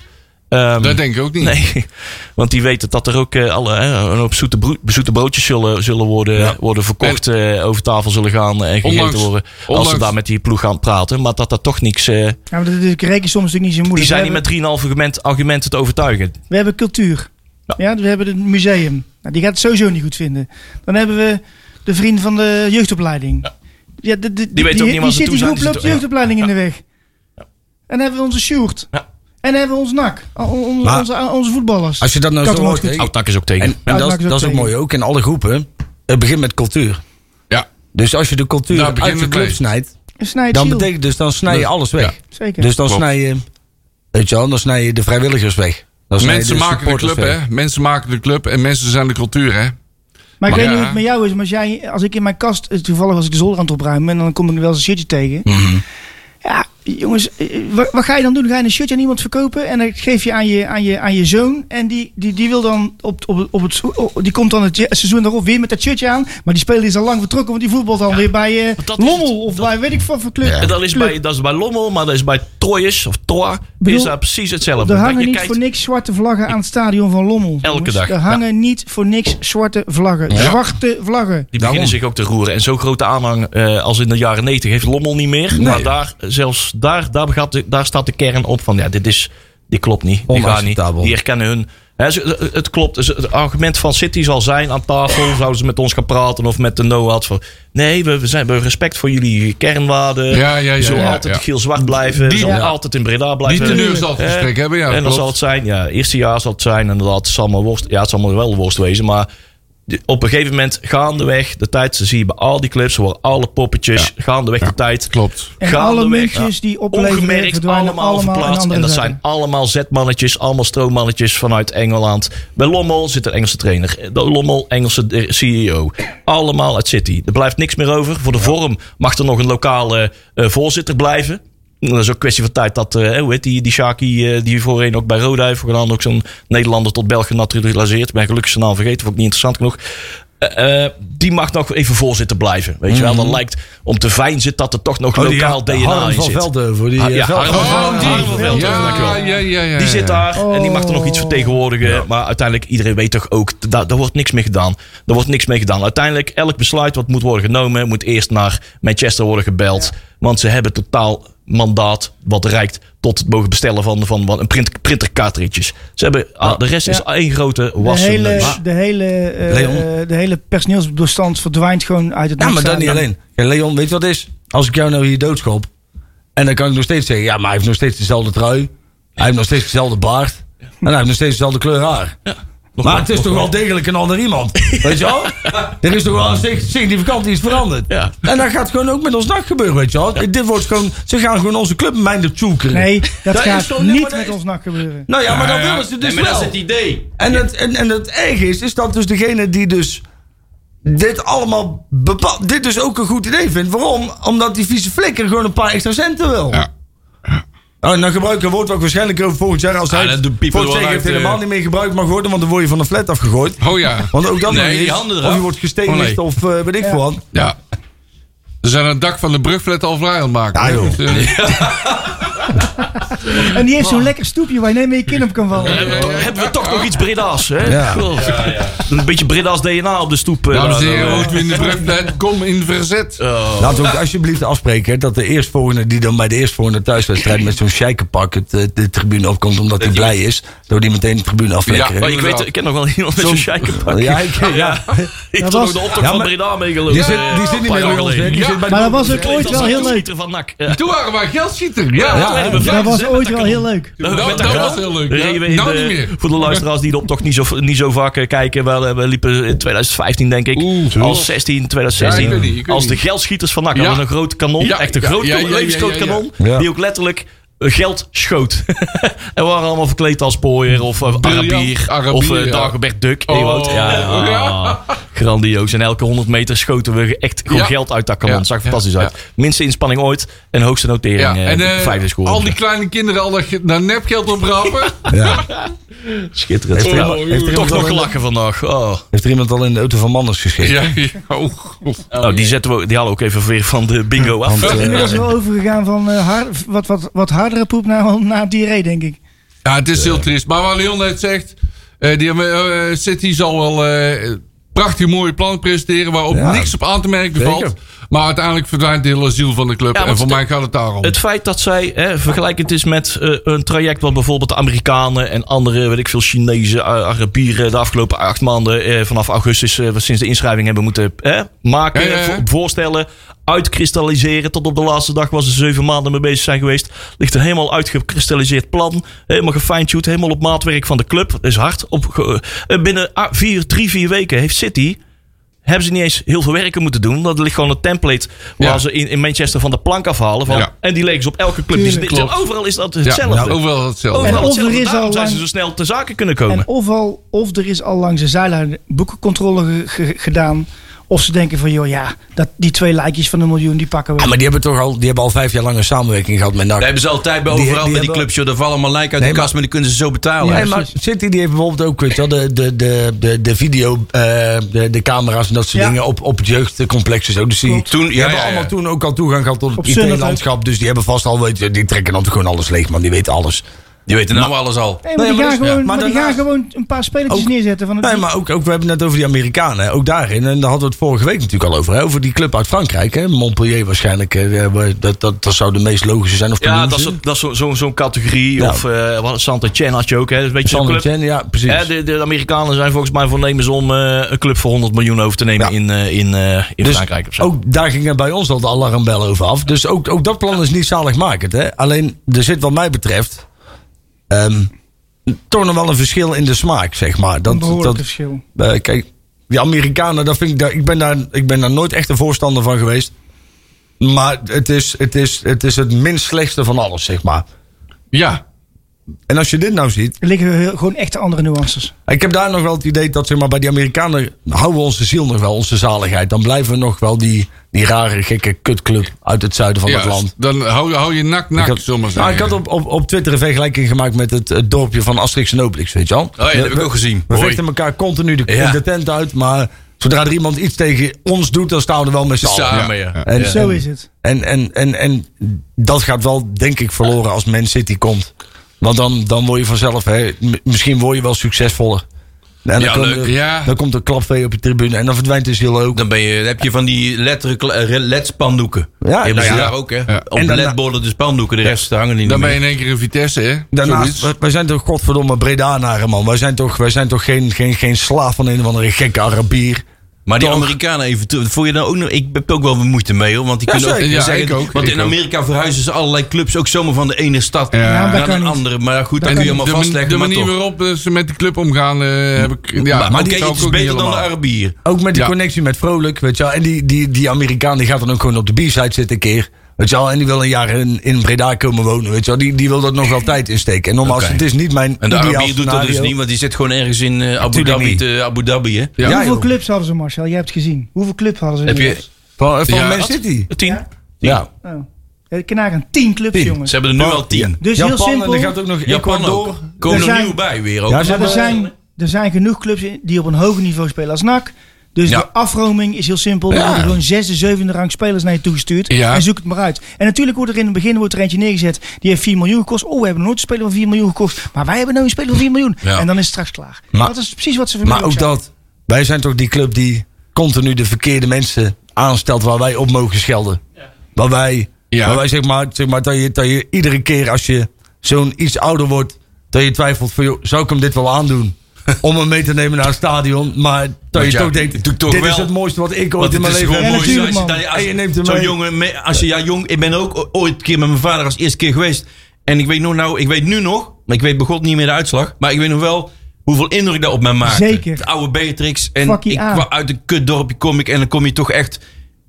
S1: Ehm,
S5: dat denk ik ook niet.
S1: Nee, want die weten dat er ook eh, alle, hè, een hoop zoete, broe- zoete broodjes zullen, zullen worden, worden verkocht, eh, over tafel zullen gaan en gegeten
S5: Ondanks-
S1: worden. Als ze
S5: ondanks-
S1: daar met die ploeg gaan praten. Maar dat dat toch niks... eh,
S6: Ja, maar dat is reken soms natuurlijk niet zo moeilijk.
S1: die zijn
S6: we, hebben,
S1: niet met 3,5 argument, argumenten te overtuigen.
S6: we hebben cultuur. Ja. dus we hebben het museum. Nou, die gaat het sowieso niet goed vinden. Dan hebben we de vriend van de jeugdopleiding. Ja. de, de- die
S1: ook niet waar
S6: die zit
S1: ze toe
S6: die
S1: zijn.
S6: groep
S1: Die
S6: loopt
S1: zitten-
S6: jeugdopleiding in de weg. En dan hebben we onze Sjoerd.
S1: Ja.
S6: En dan hebben we ons NAC. O- o- onze-
S3: Maar-
S6: onze, onze voetballers.
S3: Als je dat nou
S6: Kat
S3: zo
S6: hem
S3: hoort,
S6: ook goed.
S3: hè,
S1: Oudnak is ook tegen.
S3: en, en dat, is- dat is ook mooi ook, in alle groepen, het begint met cultuur.
S5: Ja.
S3: Dus als je de cultuur
S1: Nou,
S5: Daar begint
S3: uit de
S5: het
S3: club
S5: mee.
S3: snijdt,
S6: Een snijdt
S3: dan
S6: ziel.
S3: betekent dus dan snij je alles weg.
S6: Zeker.
S3: Dus dan
S5: Klopt.
S3: snij je, weet je wel, dan snij je de vrijwilligers weg. Dan snij je
S5: Mensen
S3: de
S5: maken de
S3: supporters
S5: club, hè? Mensen maken de club en mensen zijn de cultuur, hè?
S6: Maar ik
S5: Maar
S6: weet niet
S5: ja.
S6: hoe het met jou is, maar als, jij, als ik in mijn kast, eh, toevallig was ik de zolder aan het opruimen en dan kom ik wel eens een shirtje tegen.
S5: Mhm.
S6: Ja, jongens, eh, wat, wat ga je dan doen? Ga je een shirtje aan iemand verkopen en dat geef je aan je, aan je, aan je zoon en die, die, die wil dan op, op, op het, op- die komt dan het je- seizoen daarop weer met dat shirtje aan, maar die speler is al lang vertrokken, want die voetbalt dan weer bij eh,
S1: dat is
S6: Lommel of bij weet ik wat voor club.
S1: En dat is,
S6: club.
S1: bij, dat is bij Lommel, maar dat is bij Troyes of Troa is
S6: Bedoel,
S1: dat precies hetzelfde.
S6: Er
S1: Dat
S6: hangen
S1: je
S6: niet
S1: kijkt-
S6: voor niks zwarte vlaggen aan het stadion van Lommel.
S1: Elke
S6: jongens.
S1: dag,
S6: Er hangen niet voor niks zwarte vlaggen. Zwarte vlaggen.
S1: Die beginnen zich ook te roeren. En zo'n grote aanhang eh, als in de jaren 90 heeft Lommel niet meer. Maar daar, zelfs daar, daar, gaat de- daar staat de kern op van ja, dit is, dit klopt niet. Die gaan niet.
S3: Onacceptabel.
S1: Die herkennen hun. Hè, ze- het klopt. Dus Het argument van City zal zijn aan tafel. Zouden ze met ons gaan praten of met de NOAD. Van, nee, we, we, zijn, we hebben respect voor jullie kernwaarden.
S5: Ja, ja, ja,
S1: Zo
S5: ja,
S1: altijd
S5: ja.
S1: geel zwart blijven.
S5: Die-
S1: Die, zal
S5: Ja.
S1: altijd in Breda
S5: Die
S1: blijven.
S5: teneur zal het
S1: Eh,
S5: gesprek hebben, ja.
S1: en dan
S5: klopt.
S1: zal het zijn, ja, eerste jaar zal het zijn, inderdaad, het zal maar worst, ja, het zal maar wel worst wezen, maar de- op een gegeven moment, gaandeweg, de tijd, ze zie je bij al die clips, ze worden alle poppetjes, gaandeweg de tijd.
S5: Klopt.
S6: En alle
S1: Gaandeweg,
S6: muntjes die opleveren,
S1: ongemerkt,
S6: verdwijnen
S1: allemaal,
S6: allemaal, in
S1: verplaatst.
S6: andere
S1: En dat
S6: zakken.
S1: zijn allemaal zetmannetjes, allemaal stroommannetjes vanuit Engeland. Bij Lommel zit een Engelse trainer. De Lommel, Engelse eh, CEO. Allemaal uit City. Er blijft niks meer over. Voor de vorm mag er nog een lokale eh, voorzitter blijven. dat is ook een kwestie van tijd dat, eh, hoe heet die, die Shaki, eh, die voorheen ook bij Roda heeft gedaan, ook zo'n Nederlander tot Belg genaturaliseerd. Ik ben gelukkig zijn naam vergeten, vond ik niet interessant genoeg. Eh, eh, die mag nog even voorzitter blijven. Weet je wel, dan lijkt om te fijn zit dat er toch nog
S3: Mhm. Oh, die,
S1: lokaal
S3: ja,
S1: DNA
S3: Harm
S1: in
S3: van
S1: zit.
S3: Veldhoven. Die,
S1: Ah,
S3: eh,
S1: ja,
S3: Veldhoven.
S1: Harm van-
S5: Oh,
S1: Harm van Veldhoven,
S5: die. Ja, ja,
S1: dankjewel.
S5: ja, ja, ja.
S1: Die zit daar en die mag er nog iets
S6: Oh.
S1: vertegenwoordigen. Maar uiteindelijk, iedereen weet toch ook, da- daar wordt niks mee gedaan. Daar wordt niks mee gedaan. Uiteindelijk, elk besluit wat moet worden genomen, moet eerst naar Manchester worden gebeld. Want ze hebben totaal mandaat wat reikt tot het mogen bestellen van, van, van een print, printercartridges. Ze hebben, ah, de rest is
S6: Ja.
S1: één grote
S6: De hele,
S1: wassenneus.
S6: de, hele, eh,
S3: Leon?
S6: de hele personeelsbestand verdwijnt gewoon uit het
S3: Ja, maar dat niet
S6: nachtstadion.
S3: alleen. Ja, Leon, weet je wat het is? Als ik jou nou hier doodschop. En dan kan ik nog steeds zeggen: ja, maar hij heeft nog steeds dezelfde trui. Hij heeft nog steeds dezelfde baard. En hij heeft nog steeds dezelfde kleur haar. maar het is toch wel degelijk een ander iemand. Weet je wel? Er is toch wel sig- significant iets veranderd.
S1: Ja.
S3: En dat gaat gewoon ook met ons nacht gebeuren, weet je wel? Dit wordt gewoon, ze gaan gewoon onze club minder zoeken.
S6: Nee, dat,
S3: Dat is
S6: gaat
S3: toch- nee, maar
S6: niet
S3: dat
S6: met
S3: is-
S6: ons nak gebeuren.
S3: Nou ja, maar dat willen ze dus
S4: Ah, maar dat
S3: wel.
S4: is het idee.
S3: En het, en, en het erg is, is dat dus degene die dus dit allemaal bepaalt, dit dus ook een goed idee vindt. Waarom? Omdat die vieze flikker gewoon een paar extra centen wil.
S5: Ja.
S3: Oh, en dan gebruik je een woord wat waarschijnlijk over volgend jaar als hij
S4: Ah, dat doet Pieper
S3: volgend jaar
S4: wel
S3: heeft
S4: uit,
S3: helemaal
S4: eh.
S3: niet meer gebruikt mag worden, want dan word je van de flat afgegooid.
S5: Oh ja.
S3: Want ook dat
S4: Nee,
S3: nog niet
S4: die
S3: is.
S4: handen
S3: Of
S4: eraf.
S3: je wordt gesteenigd
S4: Oh, nee.
S3: of eh weet ik veel wat.
S5: Ja. Ze zijn het dak van de brugflat al vrij aan het maken.
S3: Ja,
S5: hoor.
S3: joh.
S5: Dus, eh,
S6: En die heeft zo'n lekker stoepje waar je niet meer je kin op kan vallen.
S1: Hebben we toch- Hebben we toch nog iets Brida's, hè?
S3: Ja.
S1: Goh. Een beetje Brida's DNA op de stoep. eh,
S5: Dames en
S1: daar,
S5: heren,
S1: eh.
S5: hoort u in de brugflat? Kom in verzet.
S3: Laten we ook alsjeblieft afspreken hè, dat de eerstvolgende die dan bij de eerstvolgende thuiswedstrijd met zo'n sjeikenpak het, eh, de tribune opkomt omdat hij blij is, door die meteen de tribune
S1: Oh,
S3: aflekkeren.
S1: ik, weet, ik ken nog wel iemand met zo'n sheikenpak.
S3: ja, ik, ja.
S1: Ik
S6: Dat
S1: heb ook
S6: was-
S1: de optocht
S3: Ja,
S1: van
S3: maar-
S1: Breda meegelopen. eh,
S3: Die zit, die zit niet meer bij ons, hè? Die
S5: Ja.
S3: zit bij de
S6: Maar dat was ook
S1: Ooit
S6: ooit wel heel leuk.
S1: Van NAC. Ja.
S5: Toen waren wij geldschieter. Ja,
S1: Ja,
S5: ja.
S1: ja.
S5: Dat,
S6: Dat was ooit wel heel leuk.
S5: Nou,
S1: Nou,
S5: dat, was heel leuk.
S1: We
S5: Ja.
S1: reden in
S5: Nou
S1: de-
S5: niet meer.
S1: Voor de luisteraars die de optocht niet zo, niet zo vaak eh, kijken. We, we liepen in 2015 denk ik.
S5: Oeh,
S1: als 16, 2016.
S5: Ja, ik weet niet, ik weet
S1: als de
S5: niet.
S1: geldschieters van NAC.
S5: Ja.
S1: Dat was een groot kanon.
S5: Ja,
S1: echt een
S5: ja,
S1: groot,
S5: ja, ja, ja,
S1: levensgroot
S5: ja, ja.
S1: kanon.
S3: Ja.
S1: Die ook letterlijk eh, geld schoot. en we waren allemaal verkleed als pooier of eh,
S5: Briljant.
S1: Arabier.
S5: Arabier,
S1: of eh,
S5: ja.
S1: Dagobert Duk.
S5: Oh.
S1: Ewout. Ja, ja.
S5: Ja.
S1: Grandioos. En elke 100 meter schoten we echt gewoon
S5: Ja.
S1: geld uit dat kanon.
S5: Ja.
S1: Zag er
S5: Ja.
S1: fantastisch uit.
S5: Ja.
S1: Minste inspanning ooit. En hoogste notering.
S5: Ja,
S1: eh,
S5: en eh,
S1: vijfde score.
S5: al die kleine kinderen al dat ge- daar nepgeld op rapen.
S3: Ja.
S1: Schitterend.
S3: Heeft er-
S1: Ja.
S3: heeft er iemand
S1: Toch
S3: al
S1: nog
S3: een-
S1: lachen vandaag. Oh.
S3: Heeft er iemand al in de auto van Manners geschikt?
S5: ja, ja. Oh, god.
S1: Nou, die, zetten we, die halen we ook even weer van de bingo af.
S3: Want, eh,
S6: Inmiddels wel overgegaan van eh, hard- wat, wat, wat hardere poep naar, naar diarree, denk ik.
S5: Ja, het is heel triest. Maar wat Leon net zegt, eh, die, eh, eh, City zal wel eh, prachtig mooie plannen presenteren waarop
S3: Ja.
S5: niks op aan te merken
S3: Zeker.
S5: valt. Maar uiteindelijk verdwijnt de hele ziel van de club.
S1: Ja, want
S5: en voor
S1: de-
S5: mij gaat het daar om.
S1: Het feit dat zij hè, vergelijkend is met eh, een traject wat bijvoorbeeld de Amerikanen en andere, weet ik veel, Chinezen, eh, Arabieren de afgelopen acht maanden eh, vanaf augustus, eh, sinds de inschrijving hebben moeten hè, maken,
S5: Ja, ja, ja.
S1: vo- voorstellen, uitkristalliseren. Tot op de laatste dag was ze zeven maanden mee bezig zijn geweest. Ligt een helemaal uitgekristalliseerd plan, helemaal gefine-tuned, helemaal op maatwerk van de club. Dat is hard. Op, ge- eh, binnen a- vier, drie, vier weken heeft City hebben ze niet eens heel veel werken moeten doen. Dat ligt gewoon een template waar
S5: Ja.
S1: ze in, in Manchester van de plank afhalen. Van,
S5: Ja.
S1: En die leggen ze op elke club. Die ze-
S5: Klopt.
S1: overal is dat
S5: ja,
S1: hetzelfde.
S5: nou, overal hetzelfde.
S1: Overal
S6: En of
S1: hetzelfde.
S6: er is
S1: Daarom
S6: al
S1: zijn ze
S6: lang-
S1: zo snel te zaken kunnen komen.
S6: En of, al, of er is al langs de zijlijn boekencontrole ge- ge- gedaan. Of ze denken van, joh ja, dat, die twee lijkjes van een miljoen, die pakken we.
S3: Ah, maar die hebben toch al, die hebben al vijf jaar lang een samenwerking gehad met NAC.
S4: Daar hebben ze altijd bij
S3: Die-
S4: overal
S3: die
S4: bij die
S3: hebben-
S4: clubs. Joh, daar vallen allemaal lijken uit
S3: Nee,
S4: de
S3: maar-
S4: kast, maar die kunnen ze zo betalen.
S3: Nee, maar City die heeft bijvoorbeeld ook weet je wel, de, de, de, de, de video, eh, de, de camera's en dat soort
S6: Ja.
S3: dingen op, op het jeugdcomplex en zo. Dus die,
S4: Toen,
S3: die
S4: ja,
S3: hebben
S4: ja, ja.
S3: allemaal toen ook al toegang gehad tot het
S6: Op Sunderland.
S3: IT-landschap. Dus die hebben vast al, weet je, die trekken dan gewoon alles leeg, man. Die weten alles.
S6: Mhm.
S4: Die weten nou alles al.
S6: Nee, maar
S3: Nee,
S6: die,
S3: maar
S6: gaan,
S3: dat is-
S6: gewoon,
S3: ja.
S6: maar
S3: Maar
S6: die gaan
S3: daarnaast-
S6: gewoon een paar spelletjes
S3: Ook-
S6: neerzetten. Van het
S3: Nee,
S6: team.
S3: maar ook, ook, we hebben het net over die Amerikanen. hè. Ook daarin, en daar hadden we het vorige week natuurlijk al over. Hè, over die club uit Frankrijk. Hè, Montpellier waarschijnlijk. Hè, waar- dat, dat, dat zou de meest logische zijn. Of
S1: ja,
S3: Toulouse.
S1: dat is, dat is zo- zo'n zo'n categorie.
S3: Ja.
S1: Of eh, wat Santa Chen had je ook. Hè. Dat is een beetje zo'n
S3: Sander
S1: club.
S3: Chen, ja, precies.
S1: Hè, de, de Amerikanen zijn volgens mij voornemens om eh, een club voor 100 miljoen over te nemen
S3: Ja.
S1: in, eh, in, eh, in
S3: Dus
S1: Frankrijk. Of zo.
S3: ook daar gingen bij ons al de alarmbellen over af. Dus ook, ook dat plan is niet zaligmakend. Hè? Alleen, er zit wat mij betreft... ehm, toch nog wel een verschil in de smaak, zeg maar.
S6: een
S3: Dat,
S6: behoorlijk
S3: dat,
S6: verschil.
S3: eh, kijk, die Amerikanen, dat vind ik, daar, ik, ben daar, ik ben daar nooit echt een voorstander van geweest. Maar het is het, is, het, is het minst slechtste van alles, zeg maar.
S5: Ja.
S3: En als je dit nou ziet,
S6: Er liggen heel- gewoon echt andere nuances.
S3: ik heb daar nog wel het idee dat zeg maar, bij die Amerikanen houden we onze ziel nog wel, onze zaligheid. Dan blijven we nog wel die, die rare, gekke kutclub uit het zuiden van het
S5: Ja,
S3: land.
S5: dan hou, hou je nak nak,
S3: Ik had,
S5: zullen we maar
S3: nou,
S5: zeggen.
S3: ik had op, op, op Twitter een vergelijking gemaakt met het, het dorpje van Asterix en Obelix, weet je wel.
S4: Oh ja, dat heb ik ook gezien.
S3: We
S4: Mooi.
S3: vechten elkaar continu de,
S4: Ja.
S3: de tent uit, maar zodra er iemand iets tegen ons doet, dan staan we er wel met z'n allen.
S4: Samen, ja.
S3: En,
S6: Zo is het.
S3: En, en, en, en dat gaat wel, denk ik, verloren als Man City komt. Want dan, dan word je vanzelf, hè, m- misschien word je wel succesvoller. En dan,
S4: Ja,
S3: komt,
S4: leuk,
S3: er-
S5: ja.
S3: dan komt er klap twee op je tribune en dan verdwijnt de ziel ook.
S4: Dan ben je, dan heb je van die eh, LED-spandoeken.
S3: Ja,
S4: hebben
S3: nou
S4: ze
S3: ja.
S4: daar ook, hè?
S5: Ah, Ja.
S4: Op
S3: En daarna-
S4: LED-borden de spandoeken, de rest hangen niet
S5: Dan ben
S4: meer.
S5: je in één keer een Vitesse, hè?
S3: Daarnaast,
S5: Zoiets.
S3: wij- wij zijn toch godverdomme Bredanaren, man. Wij zijn toch, wij zijn toch geen, geen, geen slaaf van een of andere gekke Arabier.
S4: Maar die
S3: Toch?
S4: Amerikanen even, toe- voel je dan ook nog, ik heb ook wel moeite mee hoor, want die
S3: Ja,
S4: kunnen ook
S3: zeker.
S5: Ja,
S4: zeggen,
S5: ik ook,
S4: want
S5: ik
S4: in
S5: ook.
S4: Amerika verhuizen ze allerlei clubs ook zomaar van de ene stad
S5: Ja, maar
S4: naar
S6: dat kan
S4: een
S6: niet.
S4: andere. Maar goed, dan
S5: En
S4: kun je allemaal
S5: de,
S4: vastleggen,
S5: de
S4: maar
S5: manier
S4: toch.
S5: waarop eh, ze met de club omgaan, eh, heb ik. Ja,
S4: maar maar oké,
S5: dat zou
S4: het
S5: ik
S4: is
S5: ook niet
S4: beter dan de
S5: helemaal.
S4: Arabier.
S3: Ook met die
S5: Ja.
S3: connectie met Vrolijk, weet je wel. En die, die, die Amerikaan die gaat dan ook gewoon op de B-side zitten een keer. Weet je wel, en die wil een jaar in, in Breda komen wonen, weet je wel. Die, die wil dat nog wel tijd insteken. En normaal,
S4: Oké.
S3: het is niet mijn
S4: En de
S3: ideaal
S4: Arabier doet dat dus
S3: scenario.
S4: niet, want die zit gewoon ergens in eh, Abu
S3: Natuurlijk
S4: Dhabi,
S3: niet.
S4: te, Abu Dhabi hè.
S5: Ja.
S6: Hoeveel
S3: joh.
S6: clubs hadden ze, Marcel? Jij hebt gezien. Hoeveel clubs hadden ze?
S4: Heb je-
S6: inmiddels?
S3: Van, van
S5: Ja,
S3: Man
S5: wat?
S3: City.
S1: Tien.
S6: Ja?
S3: Ja.
S6: Oh. Ja, de Kanaren. Tien clubs,
S3: Tien.
S6: jongens.
S4: Ze hebben er nu
S3: Van-
S4: al tien.
S6: Dus
S3: Japan,
S6: heel simpel.
S3: en er gaat ook nog
S4: Japan
S3: Ecuador.
S4: ook. Komen
S6: Er
S4: er
S6: zijn-
S4: nieuw bij weer ook.
S3: Ja, ze
S6: Maar er
S3: hebben-
S6: zijn, er zijn genoeg clubs in- die op een hoger niveau spelen als NAC. Dus
S4: Ja.
S6: de afroming is heel simpel. Er
S5: Ja.
S6: worden gewoon zesde, zevende rang spelers naar je toegestuurd.
S5: Ja.
S6: En zoek het maar uit. En natuurlijk wordt er in het begin wordt er eentje neergezet. Die heeft 4 miljoen gekost. Oh, we hebben nooit een speler van 4 miljoen gekocht. Maar wij hebben nou een speler van 4 miljoen.
S4: Ja.
S6: En dan is het straks klaar.
S3: Maar-
S6: dat is precies wat ze
S3: Maar
S6: vanmiddag
S3: ook
S6: zeiden.
S3: dat, wij zijn toch die club die continu de verkeerde mensen aanstelt waar wij op mogen schelden. Waar wij,
S5: Ja.
S3: waar wij zeg maar, zeg maar dat, je, dat je iedere keer als je zo'n iets ouder wordt, dat je twijfelt van, joh, zou ik hem dit wel aandoen? Om hem mee te nemen naar het stadion, maar dat je
S4: ja,
S3: toch
S4: ik
S3: denkt,
S4: doe
S3: dit
S4: toch
S3: is
S4: wel-
S3: het mooiste wat ik
S4: Want
S3: ooit in
S4: het
S3: mijn
S4: is
S3: leven
S4: gewoon
S3: heb.
S6: Ja,
S4: mooi.
S6: natuurlijk,
S4: als je,
S6: man.
S4: daar- als
S3: En je neemt hem
S4: zo'n
S3: mee.
S4: jongen mee- als je ja, jong, ik ben ook o- ooit een keer met mijn vader als eerste keer geweest. En ik weet, nog, nou, ik weet nu nog, maar ik weet bij God niet meer de uitslag. Maar ik weet nog wel hoeveel indruk dat op mij maakte.
S6: Zeker.
S4: De oude Beatrix. En
S6: Fuck die
S4: ik,
S6: A.
S4: kwam uit een kutdorpje kom ik en dan kom je toch echt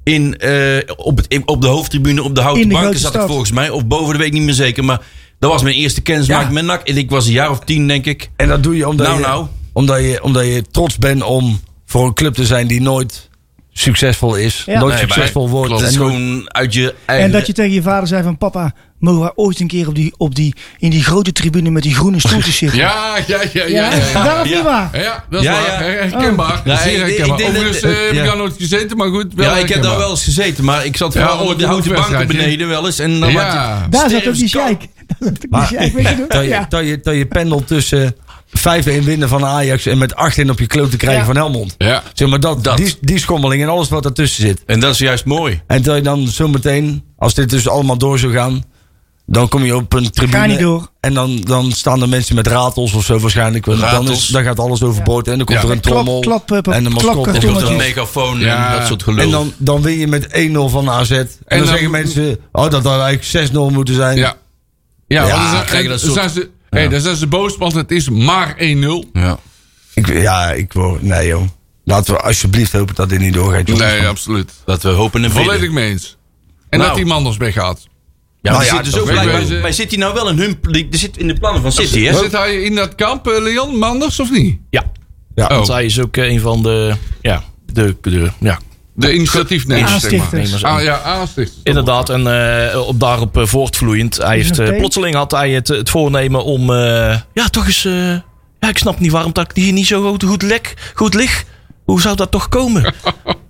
S4: in, eh, op, het, in- op de hoofdtribune, op de houten
S6: In de
S4: banken
S6: grote
S4: zat ik
S6: stad.
S4: volgens mij. Of boven, dat weet ik niet meer zeker. Maar dat was mijn eerste kennismaking
S3: Ja.
S4: met NAC. En ik was een jaar of tien, denk ik.
S3: En dat doe je omdat,
S4: Nou,
S3: je,
S4: nou.
S3: omdat, je, omdat je trots bent om voor een club te zijn die nooit succesvol is.
S6: Ja.
S3: Nooit
S4: Nee, maar-
S3: succesvol wordt.
S4: Dat is
S3: en nooit-
S4: gewoon uit je
S6: En
S4: eigen...
S6: dat je tegen je vader zei van papa, mogen wij ooit een keer op die, op die, in die grote tribune met die groene stoeltjes zitten?
S5: Ja, ja, ja, ja. ja, ja.
S6: Dat is niet
S4: Ja.
S6: waar.
S5: Ja, dat is
S4: Ja,
S5: waar.
S4: ja.
S5: Herkenbaar.
S4: Ja, ik-
S5: Zeer
S4: ik- ik
S5: herkenbaar.
S4: denk dat-
S5: Overigens eh, heb
S3: ja.
S5: ik daar nooit gezeten, maar goed. wel
S4: Ja, ik heb daar
S5: herkenbaar.
S4: wel eens gezeten, maar ik zat
S5: Ja,
S4: vooral op
S5: ooit
S4: de
S5: een
S4: houten banken
S5: oefenwedstrijdje.
S4: beneden wel eens. En dan
S5: Ja.
S4: had je-
S6: Daar zat ook die
S4: Stervenskamp.
S6: sheik. Daar zat ook die
S3: Maar-
S6: sheik, weet je nog?
S3: Dat je,
S6: Ja.
S3: dat je, dat je pendelt tussen 5-1 winnen van Ajax en met 8-1 op je kloot te krijgen
S6: Ja.
S3: van Helmond.
S5: Ja.
S3: Zeg maar dat,
S4: Dat.
S3: Die, die schommeling en alles wat daartussen zit.
S4: En dat is juist mooi.
S3: En dat je dan zometeen, als dit dus allemaal door zou gaan, dan kom je op een tribune.
S6: Ga niet door.
S3: En dan, dan staan er mensen met ratels of zo waarschijnlijk. Want Dan,
S4: Ratels.
S3: is, dan gaat alles overboord en dan komt
S5: Ja.
S3: er een
S6: Klap-
S3: trommel
S6: klap, eh,
S3: en een
S6: klapkarton.
S3: mascotte.
S4: En komt
S6: dat
S4: een
S6: is-
S4: megafoon en
S5: Ja.
S4: dat soort gelul.
S3: En dan, dan win je met 1-0 van AZ. En, dan,
S5: dan-
S3: zeggen mensen, oh dat had eigenlijk 6-0 moeten zijn.
S5: Ja. Ja,
S4: Ja,
S5: want dan
S4: dan krijg je dat
S5: dan
S4: soort-
S5: zijn ze- hey, dan zijn ze boos, want het is maar 1-0.
S4: ja.
S3: Ik, ja, ik word, nee joh. Laten we alsjeblieft hopen dat dit niet doorgaat. jongens.
S5: Nee, absoluut.
S4: Dat we hopen en
S5: Volledig
S4: bidden.
S5: mee eens. En
S4: Nou.
S5: dat die man ons weggaat.
S4: Ja,
S3: Nou
S4: maar
S3: ja,
S4: zit dus
S3: dat
S4: ook
S5: weet ik
S4: blijkbaar-
S5: wel.
S4: maar zit hij nou wel in hun... die- die zit in de plannen van City, hè?
S5: Zit hij in dat kamp, eh, Leon Manders, of niet?
S1: Ja,
S3: Ja.
S5: Oh,
S1: want hij is ook eh, een van de, ja, de, de ja,
S5: de initiatiefnemers, zeg maar.
S6: Aanstichters.
S1: Aanstichters.
S5: Ah, ja, aanstichters.
S1: Inderdaad, en eh, op daarop eh, voortvloeiend. Hij heeft, eh,
S6: Oké.
S1: plotseling had hij het, het voornemen om... eh, ja, toch eens... eh, ja, ik snap niet waarom dat ik hier niet zo goed, goed, lek, goed lig. Hoe zou dat toch komen?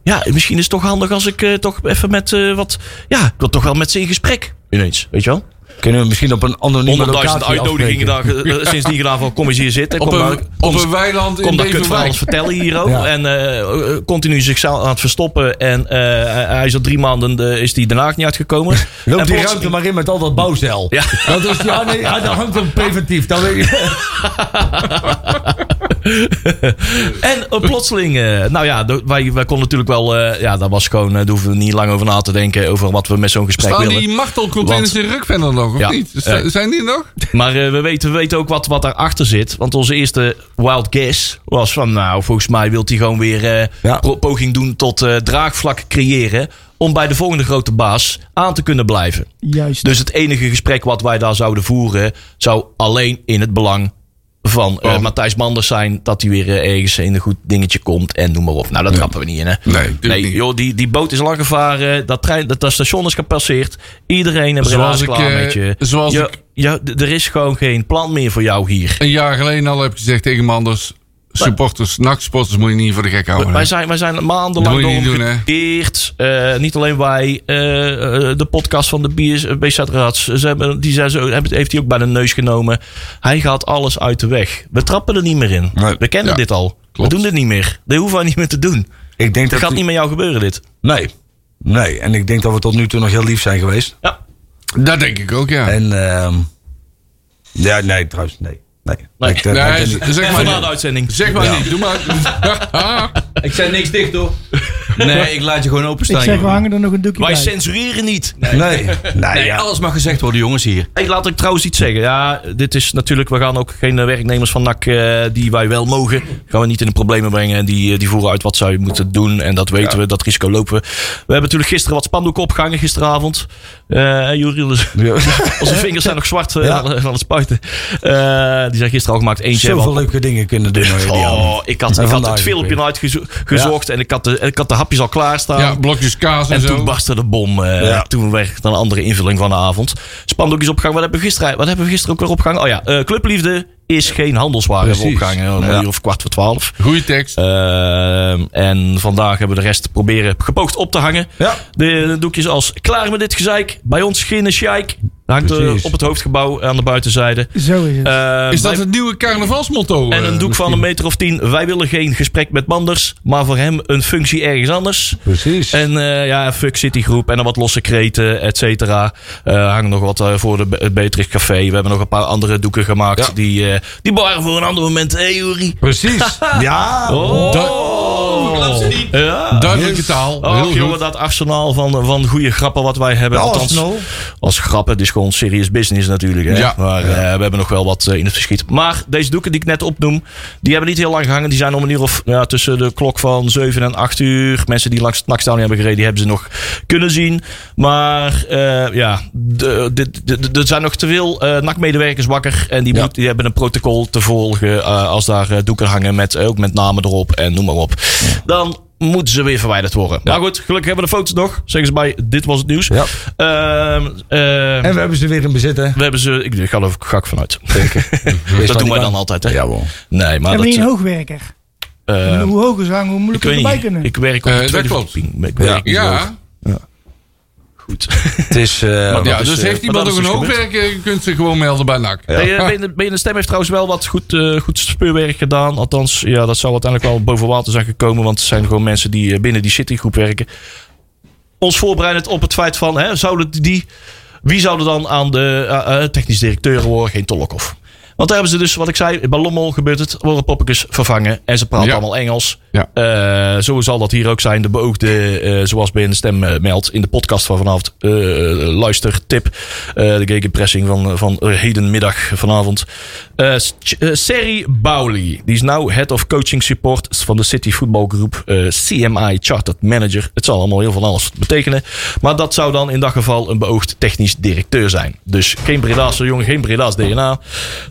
S1: ja, misschien is het toch handig als ik eh, toch even met eh, wat... Ja, ik wil toch wel met ze in gesprek. Ineens, weet je wel?
S3: Kunnen we misschien op een anonieme
S1: 100.000
S3: locatie
S1: uitnodigingen daar, eh, sinds die gedaan van kom eens hier zitten.
S5: Op
S1: kom maar-
S5: een, op
S1: kom-
S5: een weiland in
S1: Kom dat kut van
S5: Beverwijk.
S1: ons vertellen hier ook.
S3: Ja.
S1: En eh, eh, continu zichzelf aan het verstoppen. En eh, hij is al drie maanden eh, is die Den Haag niet uitgekomen.
S3: Loop
S1: En
S3: die
S1: plots-
S3: ruimte maar in met al dat bouwzeil.
S1: Ja.
S3: Dat is, ja, nee, ja, dat hangt op preventief. Dat weet ik.
S1: En eh, plotseling, eh, nou ja, de- wij, wij konden natuurlijk wel, eh, ja, dat was gewoon, eh, daar hoeven we niet lang over na te denken, over wat we met zo'n gesprek
S5: Staan
S1: willen.
S5: die martelcontainers
S1: Want-
S5: in Rukvenner nog, of
S1: Ja.
S5: niet? Z-
S1: Ja.
S5: Zijn die nog?
S1: Maar eh, we, weten, we weten ook wat, wat daarachter zit. Want onze eerste wild guess was van, nou, volgens mij wil hij gewoon weer eh,
S3: Ja.
S1: pro- poging doen tot eh, draagvlak creëren. om bij de volgende grote baas aan te kunnen blijven.
S6: Juist.
S1: Dus het enige gesprek wat wij daar zouden voeren, zou alleen in het belang van
S5: Oh.
S1: eh, Matthijs Manders zijn. Dat hij weer eh, ergens in een goed dingetje komt en noem maar op. Nou, dat trappen we niet in, hè?
S5: Nee,
S1: Nee, joh, die, die boot is lang gevaren. Dat, trein, dat, dat station is gepasseerd. Iedereen en Breda
S5: Zoals
S1: is
S5: ik,
S1: klaar
S5: eh,
S1: met je.
S5: zoals
S1: Ja,
S5: ik-
S1: ja, d- er is gewoon geen plan meer voor jou hier.
S5: Een jaar geleden al heb ik gezegd tegen Manders... Supporters, nachtsporters moet je niet voor de gek houden.
S1: Wij zijn, wij zijn maandenlang
S5: Oh, Dat moet je niet
S1: door hem
S5: doen, hè?
S1: geteerd. Eh, niet alleen wij. eh, eh, de podcast van de BS, eh, BZ Rats. Ze hebben, die zijn zo, hebben- heeft hij ook bij de neus genomen. Hij gaat alles uit de weg. We trappen er niet meer in.
S3: Nee,
S1: we kennen
S5: ja,
S1: dit al.
S5: klopt.
S1: We doen dit niet meer. Dit hoeven wij niet meer te doen.
S3: Ik denk
S1: Het
S3: dat
S1: gaat
S3: u-
S1: niet met jou gebeuren, dit.
S3: Nee. Nee, en ik denk dat we tot nu toe nog heel lief zijn geweest.
S1: Ja.
S5: Dat denk ik ook, ja.
S3: En, ehm ja, nee, trouwens, nee. Nee,
S1: Nee.
S3: Ik, eh, ik
S5: Nee,
S3: ben
S5: z-
S3: niet-
S5: zeg maar
S1: Vandaar de
S5: niet.
S1: uitzending.
S5: Zeg maar niet. Doe maar.
S4: Ik zei niks dicht hoor. Nee, ik laat je gewoon
S6: Ik
S4: openstaan.
S6: zeg, we
S4: joh.
S6: hangen er nog een doekje
S1: Wij
S6: bij.
S1: censureren niet.
S3: nee, nou
S4: Nee,
S3: ja.
S4: alles mag gezegd worden, jongens hier.
S1: Hey, laat ik trouwens iets zeggen. Ja, dit is natuurlijk. We gaan ook geen eh, werknemers van NAC eh, die wij wel mogen. Gaan we niet in de problemen brengen. En die, eh, die voeren uit wat zij moeten doen. En dat weten we. Dat risico lopen we. We hebben natuurlijk gisteren wat spandoeken opgehangen gisteravond. Eh Juriel, dus onze vingers zijn nog zwart eh,
S3: Ja.
S1: van, van het spuiten. Eh, die zijn gisteren al gemaakt. Eentje hebben we
S3: Zoveel leuke dingen kunnen doen. hoor, die
S1: Oh,
S3: Jan.
S1: ik had,
S3: En
S1: ik had
S3: vandaag
S1: het filmpje
S3: weer.
S1: al uitgezocht en ik had, de, ik had de hapjes al klaarstaan.
S5: Ja, blokjes kaas en,
S1: En
S5: zo.
S1: toen barstte de bom. eh,
S3: Ja.
S1: Toen werd een andere invulling van de avond. Spandoekjes opgehangen. Wat hebben we gisteren, wat hebben we gisteren ook weer opgehangen? Oh ja, eh, Clubliefde is geen handelswaar. Hebben we
S5: Precies.
S1: opgehangen. Om Een
S3: Ja.
S1: uur of kwart voor twaalf.
S5: Goeie
S1: Eh,
S5: tekst.
S1: Ehm, en vandaag hebben we de rest proberen gepoogd op te hangen.
S3: Ja.
S1: De, de doekjes als klaar met dit gezeik. Bij ons geen sjaik. Hangt eh,
S3: Precies.
S1: op het hoofdgebouw aan de buitenzijde.
S6: Zo is het.
S1: Ehm,
S5: Is dat
S1: wij-
S5: het nieuwe carnavalsmotto?
S1: en een
S5: eh,
S1: doek van een
S5: misschien?
S1: meter of tien. Wij willen geen gesprek met Manders, maar voor hem een functie ergens anders.
S3: Precies.
S1: En eh, ja, fuck Citygroep en dan wat losse kreten, et cetera. Eh, hangen nog wat eh, voor de, Be- het Beatrix Café. We hebben nog een paar andere doeken gemaakt. Die, eh, die waren voor een ander moment. Hé, hey, Uri.
S3: Precies. ja.
S1: Oh. Ja.
S5: Duidelijke
S3: Yes.
S5: taal.
S1: Oh,
S5: Heel
S1: jongen,
S5: goed.
S1: dat arsenaal van, van goede grappen wat wij hebben.
S3: Ja,
S1: Althans,
S3: arsenaal.
S1: als grappen, het is gewoon serious business natuurlijk. Hè?
S5: Ja.
S1: Maar eh, we hebben nog wel wat eh, in het verschiet. Maar deze doeken die ik net opnoem, die hebben niet heel lang gehangen. Die zijn om een uur of ja, tussen de klok van 7 en 8 uur. Mensen die langs het Nachtstadion hebben gereden, die hebben ze nog kunnen zien. Maar eh, ja, de- dit- dit- er zijn nog te veel eh NAC-medewerkers wakker. En die, moet- die hebben een protocol te volgen eh, als daar eh, doeken hangen. Met, eh, ook met namen erop en noem maar op. Dan moeten ze weer verwijderd worden. Maar goed, gelukkig hebben we de foto's nog. Zeggen ze bij, dit was het nieuws.
S3: Ja.
S1: Ehm, ehm,
S3: En we hebben ze weer in bezit, hè?
S1: we hebben ze, ik, ik ga er ook gak vanuit.
S3: Wees
S1: dat
S3: daar
S1: doen wij
S3: niet
S1: dan
S3: bang.
S1: altijd, hè?
S3: Jawel.
S1: Nee, maar
S6: hebben
S1: dat...
S6: we niet een hoogwerker?
S1: eh,
S6: hoe hoger ze hangen, hoe
S1: ik
S6: moeilijker we
S1: weet
S6: erbij
S1: niet.
S6: kunnen.
S1: Ik werk
S5: Eh,
S1: op de
S5: dat
S1: tweede
S5: klopt.
S1: verdieping. Ik werk-
S5: Ja,
S1: Goed.
S3: Het is... eh, wat
S5: ja
S1: dat is,
S5: dus
S1: eh,
S5: heeft
S1: maar dat
S5: iemand
S1: is
S5: ook een
S1: dus gebeurd.
S5: hoogwerker, je kunt ze gewoon melden bij NAC.
S1: Hey, eh, Ben je- Ben je de Stem heeft trouwens wel wat goed, eh, goed speurwerk gedaan. Althans, ja, dat zou uiteindelijk wel boven water zijn gekomen. Want het zijn gewoon mensen die eh, binnen die citygroep werken. Ons voorbereidend op het feit van... Hè, zouden die, wie zouden dan aan de eh, eh, technisch directeur horen? Geen Tolokov. Want daar hebben ze dus, wat ik zei, bij Lommel gebeurt het. Worden poppetjes vervangen en ze praten
S5: Ja.
S1: allemaal Engels.
S5: Ja.
S1: Eh, zo zal dat hier ook zijn. De beoogde, eh, zoals Ben de Stem eh, meldt in de podcast van vanavond. eh, luister, tip. eh, de gegenpressing van, van eh, hedenmiddag vanavond. Eh, Ch- eh, Seri Bowley. Die is nou head of coaching support van de City Football Group. eh, CMI Chartered Manager. Het zal allemaal heel van alles betekenen. Maar dat zou dan in dat geval een beoogd technisch directeur zijn. Dus geen Breda's jongen, geen Breda's DNA.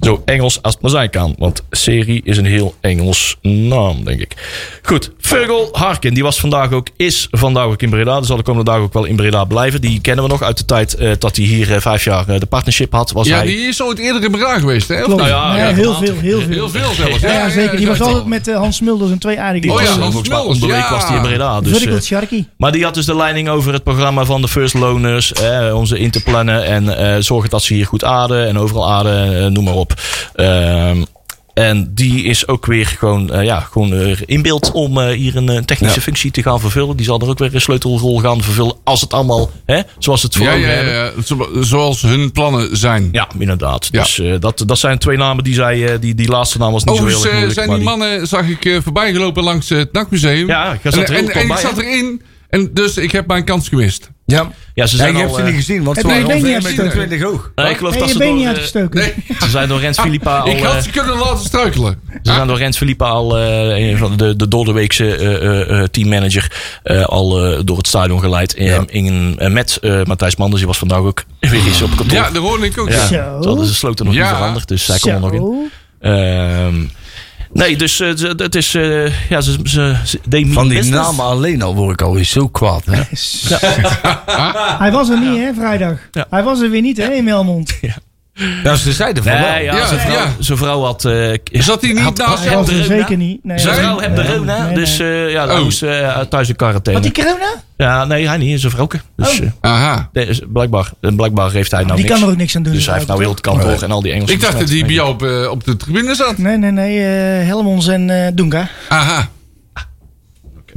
S1: Zo Engels als het maar zijn kan. Want serie is een heel Engels naam, denk ik. Goed, Vögel Harkin, die was vandaag ook, is vandaag ook in Breda. Dus zal de komende dagen ook wel in Breda blijven. Die kennen we nog uit de tijd eh, dat hij hier eh, vijf jaar eh, de partnership had. Was
S5: Ja,
S1: hij,
S5: die is ooit eerder in Breda geweest, hè? Of
S6: Klopt.
S5: niet?
S1: ja,
S6: Nee,
S1: ja,
S6: heel
S1: later.
S6: veel, heel veel.
S5: Heel veel zelfs.
S6: Ja, zeker. Die was altijd met eh, Hans Mulders en twee aardige
S1: die
S5: Oh ja,
S1: was eh,
S5: Hans
S1: volgens mij
S5: Mulders,
S1: onbeleefd
S5: ja.
S1: was die in Breda. Dus,
S6: Vertical
S1: eh,
S6: Sharky.
S1: Maar die had dus de leiding over het programma van de First Loners. Eh, om ze in te plannen en eh zorgen dat ze hier goed aarden. En overal aarden, eh, noem maar op. Ehm, en die is ook weer gewoon, eh, ja, gewoon eh, in beeld om eh, hier een eh, technische functie te gaan vervullen. Die zal er ook weer een sleutelrol gaan vervullen. Als het allemaal, hè, zoals het voor
S5: Ja,
S1: ogen
S5: ja,
S1: hebben.
S5: ja, zo- Zoals hun plannen zijn.
S1: Ja, inderdaad.
S5: Ja.
S1: Dus eh, dat, dat zijn twee namen die zij, eh, die, die laatste naam was niet
S5: Overigens
S1: zo heel erg
S5: eh,
S1: moeilijk.
S5: zijn die
S1: maar
S5: mannen, zag ik eh, voorbij gelopen langs eh, het NAC-museum.
S1: Ja, jij zat er heel
S5: en, en,
S1: dichtbij,
S5: en ik
S1: hè?
S5: zat erin. En dus ik heb mijn kans gemist.
S3: Ja.
S1: Ja, ze
S3: Ja,
S1: zijn
S3: je hebt
S1: al,
S3: ze
S1: eh,
S3: niet gezien, want ze
S6: heb je
S3: waren
S6: je been
S3: ongeveer
S6: niet uitgestoken?
S3: 1,20 hoog.
S1: nee, ik geloof
S6: Ben
S1: dat
S6: je
S1: ze
S6: been
S1: door,
S6: niet
S1: eh,
S6: uitgestoken?
S5: Nee,
S1: ze zijn door Rens Philippa al...
S5: ik had
S1: eh,
S5: ze kunnen laten struikelen.
S1: Ze zijn Dus door Rens Filipa al, eh, een van de, de doordeweekse eh, eh, eh, teammanager, eh, al eh, door het stadion geleid. Eh, in, eh, met eh, Matthijs Manders, die was vandaag ook weer eens op kantoor.
S5: Ja, daar hoorde ik ook.
S6: Zo.
S1: Ja, ze hadden ze sloten nog
S5: Ja.
S1: niet veranderd, dus zij kon er nog in.
S6: Zo.
S1: Ehm, nee, dus eh, ze- dat is... eh, ja, ze, ze, ze deed
S3: Van die
S1: business.
S3: namen alleen al word ik alweer zo kwaad. Hè?
S6: Hij was er niet, hè, vrijdag.
S1: Ja.
S6: Hij was er weer niet, hè, in Melmond.
S3: Ja, ze zeiden van
S1: Nee,
S3: wel.
S1: ja,
S5: Ja,
S1: zijn, vrouw,
S5: ja.
S1: zijn vrouw had... eh,
S5: Zat hij niet
S1: had-
S5: naast
S6: Hij
S5: jou?
S6: was er
S1: Rona?
S6: zeker niet. Nee.
S1: Zijn vrouw heeft de
S6: Nee,
S1: corona,
S6: nee,
S1: dus
S6: nee.
S1: eh, ja,
S5: Oh.
S1: hij moest eh, thuis in quarantaine.
S6: Had die corona?
S1: Ja, nee, hij niet, zijn vrouw ook. Dus,
S6: Oh.
S1: eh,
S5: Aha.
S1: nee, is- blijkbaar, eh, blijkbaar heeft hij nou
S6: Die
S1: niks.
S6: kan er ook niks aan doen.
S1: Dus hij heeft nou heel het kantoor en al die Engelsen.
S5: Ik dacht dat hij bij jou op, eh, op de tribune zat.
S6: Nee, nee, nee. eh, Helmons en eh Dunga.
S5: Aha.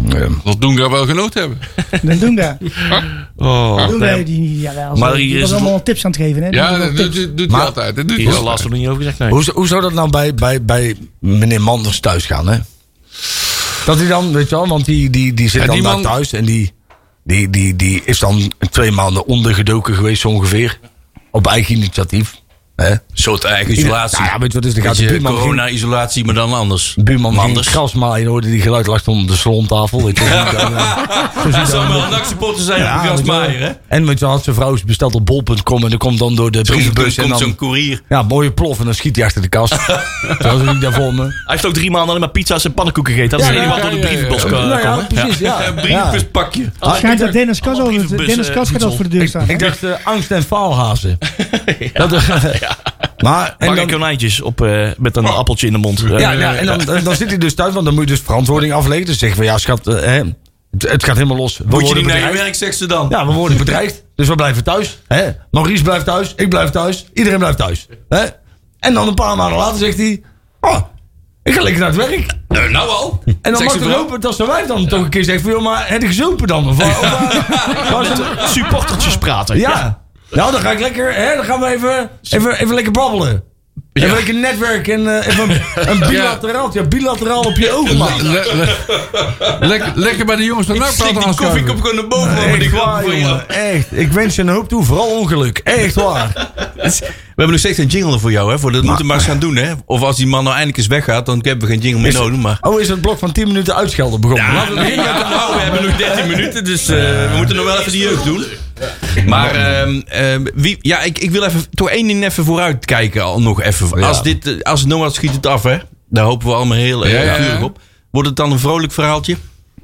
S3: Ja.
S5: Dat doen we wel genoten hebben.
S6: De Dunga.
S1: Oh,
S6: Dunga,
S1: nee.
S6: die, jawel,
S1: Maar
S6: zo,
S1: hier
S6: die
S1: is
S6: was
S1: het-
S6: allemaal tips aan het geven, hè. Die
S5: Ja,
S6: was
S5: dat
S6: allemaal
S5: doet,
S6: tips.
S5: doet hij altijd. Dat doet
S1: Hier
S5: hij
S1: is laatst
S5: altijd.
S1: nog niet over gezegd, nee.
S3: Hoe, z- hoe zou dat nou bij, bij, bij meneer Manders thuis gaan, hè? Dat hij dan, weet je wel, want die, die, die zit
S5: Ja,
S3: dan
S5: die
S3: daar
S5: man-
S3: thuis en die, die, die, die is dan twee maanden ondergedoken geweest zo ongeveer. Op eigen initiatief. Hè?
S4: Een soort eigen isolatie.
S3: Ja, ja, weet je wat is, dan gaat de
S4: Beetje
S3: buurman ging-
S4: Corona-isolatie, maar dan anders.
S3: Buurman
S4: Manders.
S3: anders. Gras maaien hoorde die geluid lag onder de salontafel. Weet je wel. Zo ziet
S4: Hij
S3: dat
S4: zou
S3: dan.
S4: wel een nachtsporter zijn
S3: Ja,
S4: op de
S3: weet je wel.
S4: Grasmaaier, hè?
S3: En met je had zijn vrouw is besteld op bol.com en dan komt dan door de brievenbus en
S4: Komt zo'n
S3: dan
S4: koerier.
S3: ja, mooie plof en dan schiet hij achter de kast. Zo zie ik daar voor me.
S1: Hij heeft ook drie maanden alleen maar pizza's en pannenkoeken gegeten. Dat
S5: Ja,
S1: is helemaal
S5: ja,
S1: door de
S5: ja, ja,
S1: brievenbos
S5: ja.
S1: kwam.
S3: Nou ja, precies. Ja.
S4: Een
S3: Ja.
S4: brievenbuspakje.
S6: Het Ah, schijnt dat Dennis Kas
S1: Allemaal
S6: over
S1: brievenbus,
S6: Dennis
S1: eh,
S6: Kas gaat
S1: voedsel.
S6: over de deur staan.
S3: Ik dacht eh, angst en faalhazen. Dat, Maar en
S1: Pak
S3: dan,
S1: een konijntjes op, eh, met een appeltje in de mond. Eh,
S3: ja, ja, en dan, dan, dan zit hij dus thuis, want dan moet je dus verantwoording afleggen. Dus zeggen we, ja schat, eh, hè, het, het gaat helemaal los. We
S4: Moet je
S3: worden
S4: niet naar je
S3: bedreigd.
S4: werk, zegt ze dan.
S3: Ja, we worden bedreigd. Dus we blijven thuis. Hè? Maurice blijft thuis, ik blijf thuis, iedereen blijft thuis. Hè? En dan een paar maanden later zegt hij... Oh, ik ga lekker naar het werk.
S4: Nou, nou al.
S3: En dan
S4: Zegt
S3: mag
S4: ze
S3: het
S4: vrouw.
S3: hopen dat zijn wijf dan toch een keer zegt... van, Joh, maar heb ik gezopen dan? Of, waar- of waar- waar is het-
S1: Supportertjes praten.
S3: ja. Nou, dan ga ik lekker... Hè, dan gaan we even, even, even lekker babbelen. Even lekker netwerk en eh, even een, een bilateraal, ja, bilateraal op je ogen maken.
S5: Le- le- lek- lekker bij de jongens van
S4: Ik slik
S5: Nakpraat
S4: die
S5: aanschuiven.
S4: koffiekop gewoon naar boven maar die
S3: Echt
S4: klappen
S3: waar,
S4: voor je.
S3: jongen. Echt. Ik wens je een hoop toe. Vooral ongeluk. Echt waar.
S4: We hebben nog steeds een jingle voor jou, hè? Voor dat moeten we maar eens gaan doen, hè? Of als die man nou eindelijk eens weggaat, dan hebben we geen jingle meer nodig, maar...
S3: Oh, is het blok van 10 minuten uitschelden begonnen?
S4: Ja, nee, nou, we hebben nog 13 minuten, dus eh, we moeten nog wel even de jeugd doen. Maar ehm, ehm, wie, ja, ik, ik wil even toch één ding even vooruit kijken. Al nog even. Als, dit, eh, als Noah schiet het af, hè? Daar hopen we allemaal heel erg
S5: Ja, ja, ja.
S4: op. Wordt het dan een vrolijk verhaaltje?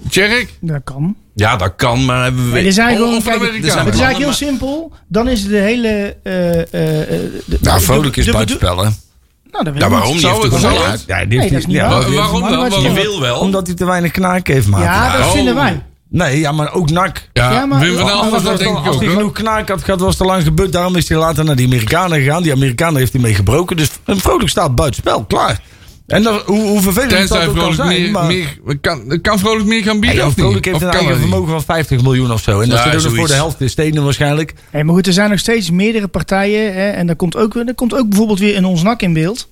S5: Tjerk,
S6: Dat Nou, kan.
S4: Ja, dat kan, maar hebben we
S6: Het is
S5: Oh,
S6: eigenlijk,
S5: of
S6: gewoon, kijk,
S5: Amerika.
S6: het is
S4: Er zijn
S6: eigenlijk heel simpel. Dan is de hele... eh, eh, eh, de-
S3: Nou, vrolijk is
S6: de- de-
S3: buitenspellen.
S6: Nou, dat weet
S4: Ja,
S6: ik niet.
S4: waarom? Die
S5: Zou
S4: heeft er
S5: het
S4: gewoon
S5: wel?
S4: uit.
S3: Ja,
S6: Nee, dat is niet waar.
S5: Wa- waarom dan?
S6: Maar-
S4: Je
S5: Waarom?
S4: wil wel.
S3: Omdat hij te weinig knaak heeft, maat.
S6: Ja, dat
S5: Oh.
S6: vinden wij.
S3: Nee, ja, maar ook nak.
S5: Ja,
S6: Ja, maar-
S5: Wim van
S6: Maar
S5: Aals was
S3: was
S5: dat
S3: dan-
S5: denk ik
S3: als
S5: ook,
S3: hij
S5: hoor.
S3: genoeg knaak had gehad, was het te lang gebeurd. Daarom is hij later naar die Amerikanen gegaan. Die Amerikanen heeft hij mee gebroken. Dus een vrolijk staat buitenspel, klaar. En dat, hoe, hoe vervelend
S5: Tenzij
S3: dat ook kan
S5: vrolijk
S3: zijn.
S5: meer,
S3: maar,
S5: meer, kan, kan vrolijk meer gaan bieden,
S3: Ja,
S5: of
S3: vrolijk
S5: niet?
S3: heeft
S5: Of
S3: een
S5: kan
S3: eigen
S5: dat niet?
S3: vermogen van 50 miljoen of zo. En dat
S4: Ja,
S3: zit ook nog voor
S4: zoiets.
S3: de helft in stenen waarschijnlijk.
S6: Hey, maar goed, er zijn nog steeds meerdere partijen. Hè, en daar komt, ook, weer- daar komt ook bijvoorbeeld weer een ons nak in beeld.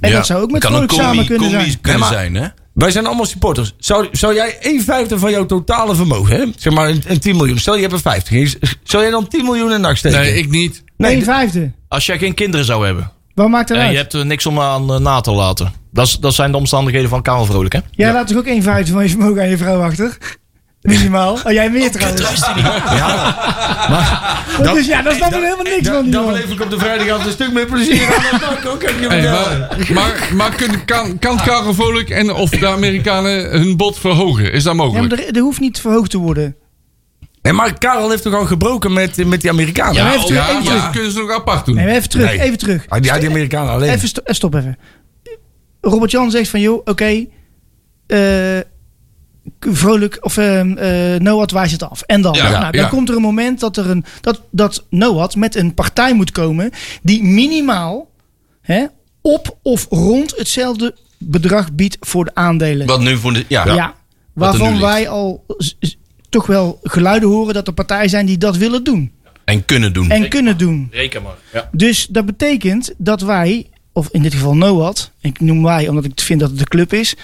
S6: En
S4: Ja,
S6: dat zou ook met
S4: kan een
S6: vrolijk samen
S4: combi-
S6: kunnen
S4: combi
S6: zijn.
S4: kunnen
S3: Ja, maar-
S4: zijn, hè?
S3: Wij zijn allemaal supporters. Zou, zou jij 1 vijfde van jouw totale vermogen, hè? zeg maar een, een 10 miljoen. Stel je hebt een 50. Zou jij dan 10 miljoen in nacht steken?
S5: Nee, ik niet.
S3: Nee,
S6: Een
S3: d-
S6: vijfde.
S1: Als jij geen kinderen zou hebben.
S6: Wat maakt dat
S1: En
S6: uit?
S1: je hebt er niks om aan eh, na te laten. Dat, is- dat zijn de omstandigheden van Karel Vrolijk, hè?
S6: Jij laat toch ook een vijfde van je vermogen aan je vrouw achter? Minimaal. Oh, jij meer trouwens. Dat is, ja, daar snap ik helemaal niks
S3: da-
S6: van. die
S3: Dan
S6: jongen.
S3: beleef ik op de vrijdagavond een stuk meer plezier aan dan ik ook. heb je
S5: Hey,
S3: verteld.
S5: maar maar, maar kun- kan, kan Karel Vrolijk en of de Amerikanen hun bod verhogen? Is dat
S6: Ja, maar
S5: mogelijk?
S6: er, er hoeft niet verhoogd te worden.
S3: Nee, maar Karel heeft toch al gebroken met, met die Amerikanen?
S5: Ja,
S3: Hij
S5: of-
S3: heeft-
S5: ja, dat kunnen ze nog apart doen.
S6: Nee, maar even terug,
S3: Nee.
S6: even terug.
S3: Ah, die, ja, die Amerikanen alleen.
S6: Even sto- eh, stop even. Robert Jan zegt van joh, oké. eh, vrolijk of ehm eh Noad wijst het af. En dan?
S5: Ja,
S6: nou, dan
S5: ja.
S6: komt er een moment dat, er een, dat, dat Noad met een partij moet komen die minimaal hè, op of rond hetzelfde bedrag biedt voor de aandelen.
S4: Wat nu voor de... Ja.
S6: ja.
S4: er nu
S6: waarvan
S4: ligt.
S6: wij al z- z- toch wel geluiden horen dat er partijen zijn die dat willen doen
S4: En kunnen doen.
S6: en kunnen doen.
S1: Reken maar.
S6: Dus dat betekent dat wij, of in dit geval NOAD, ik noem wij omdat ik vind dat het de club is,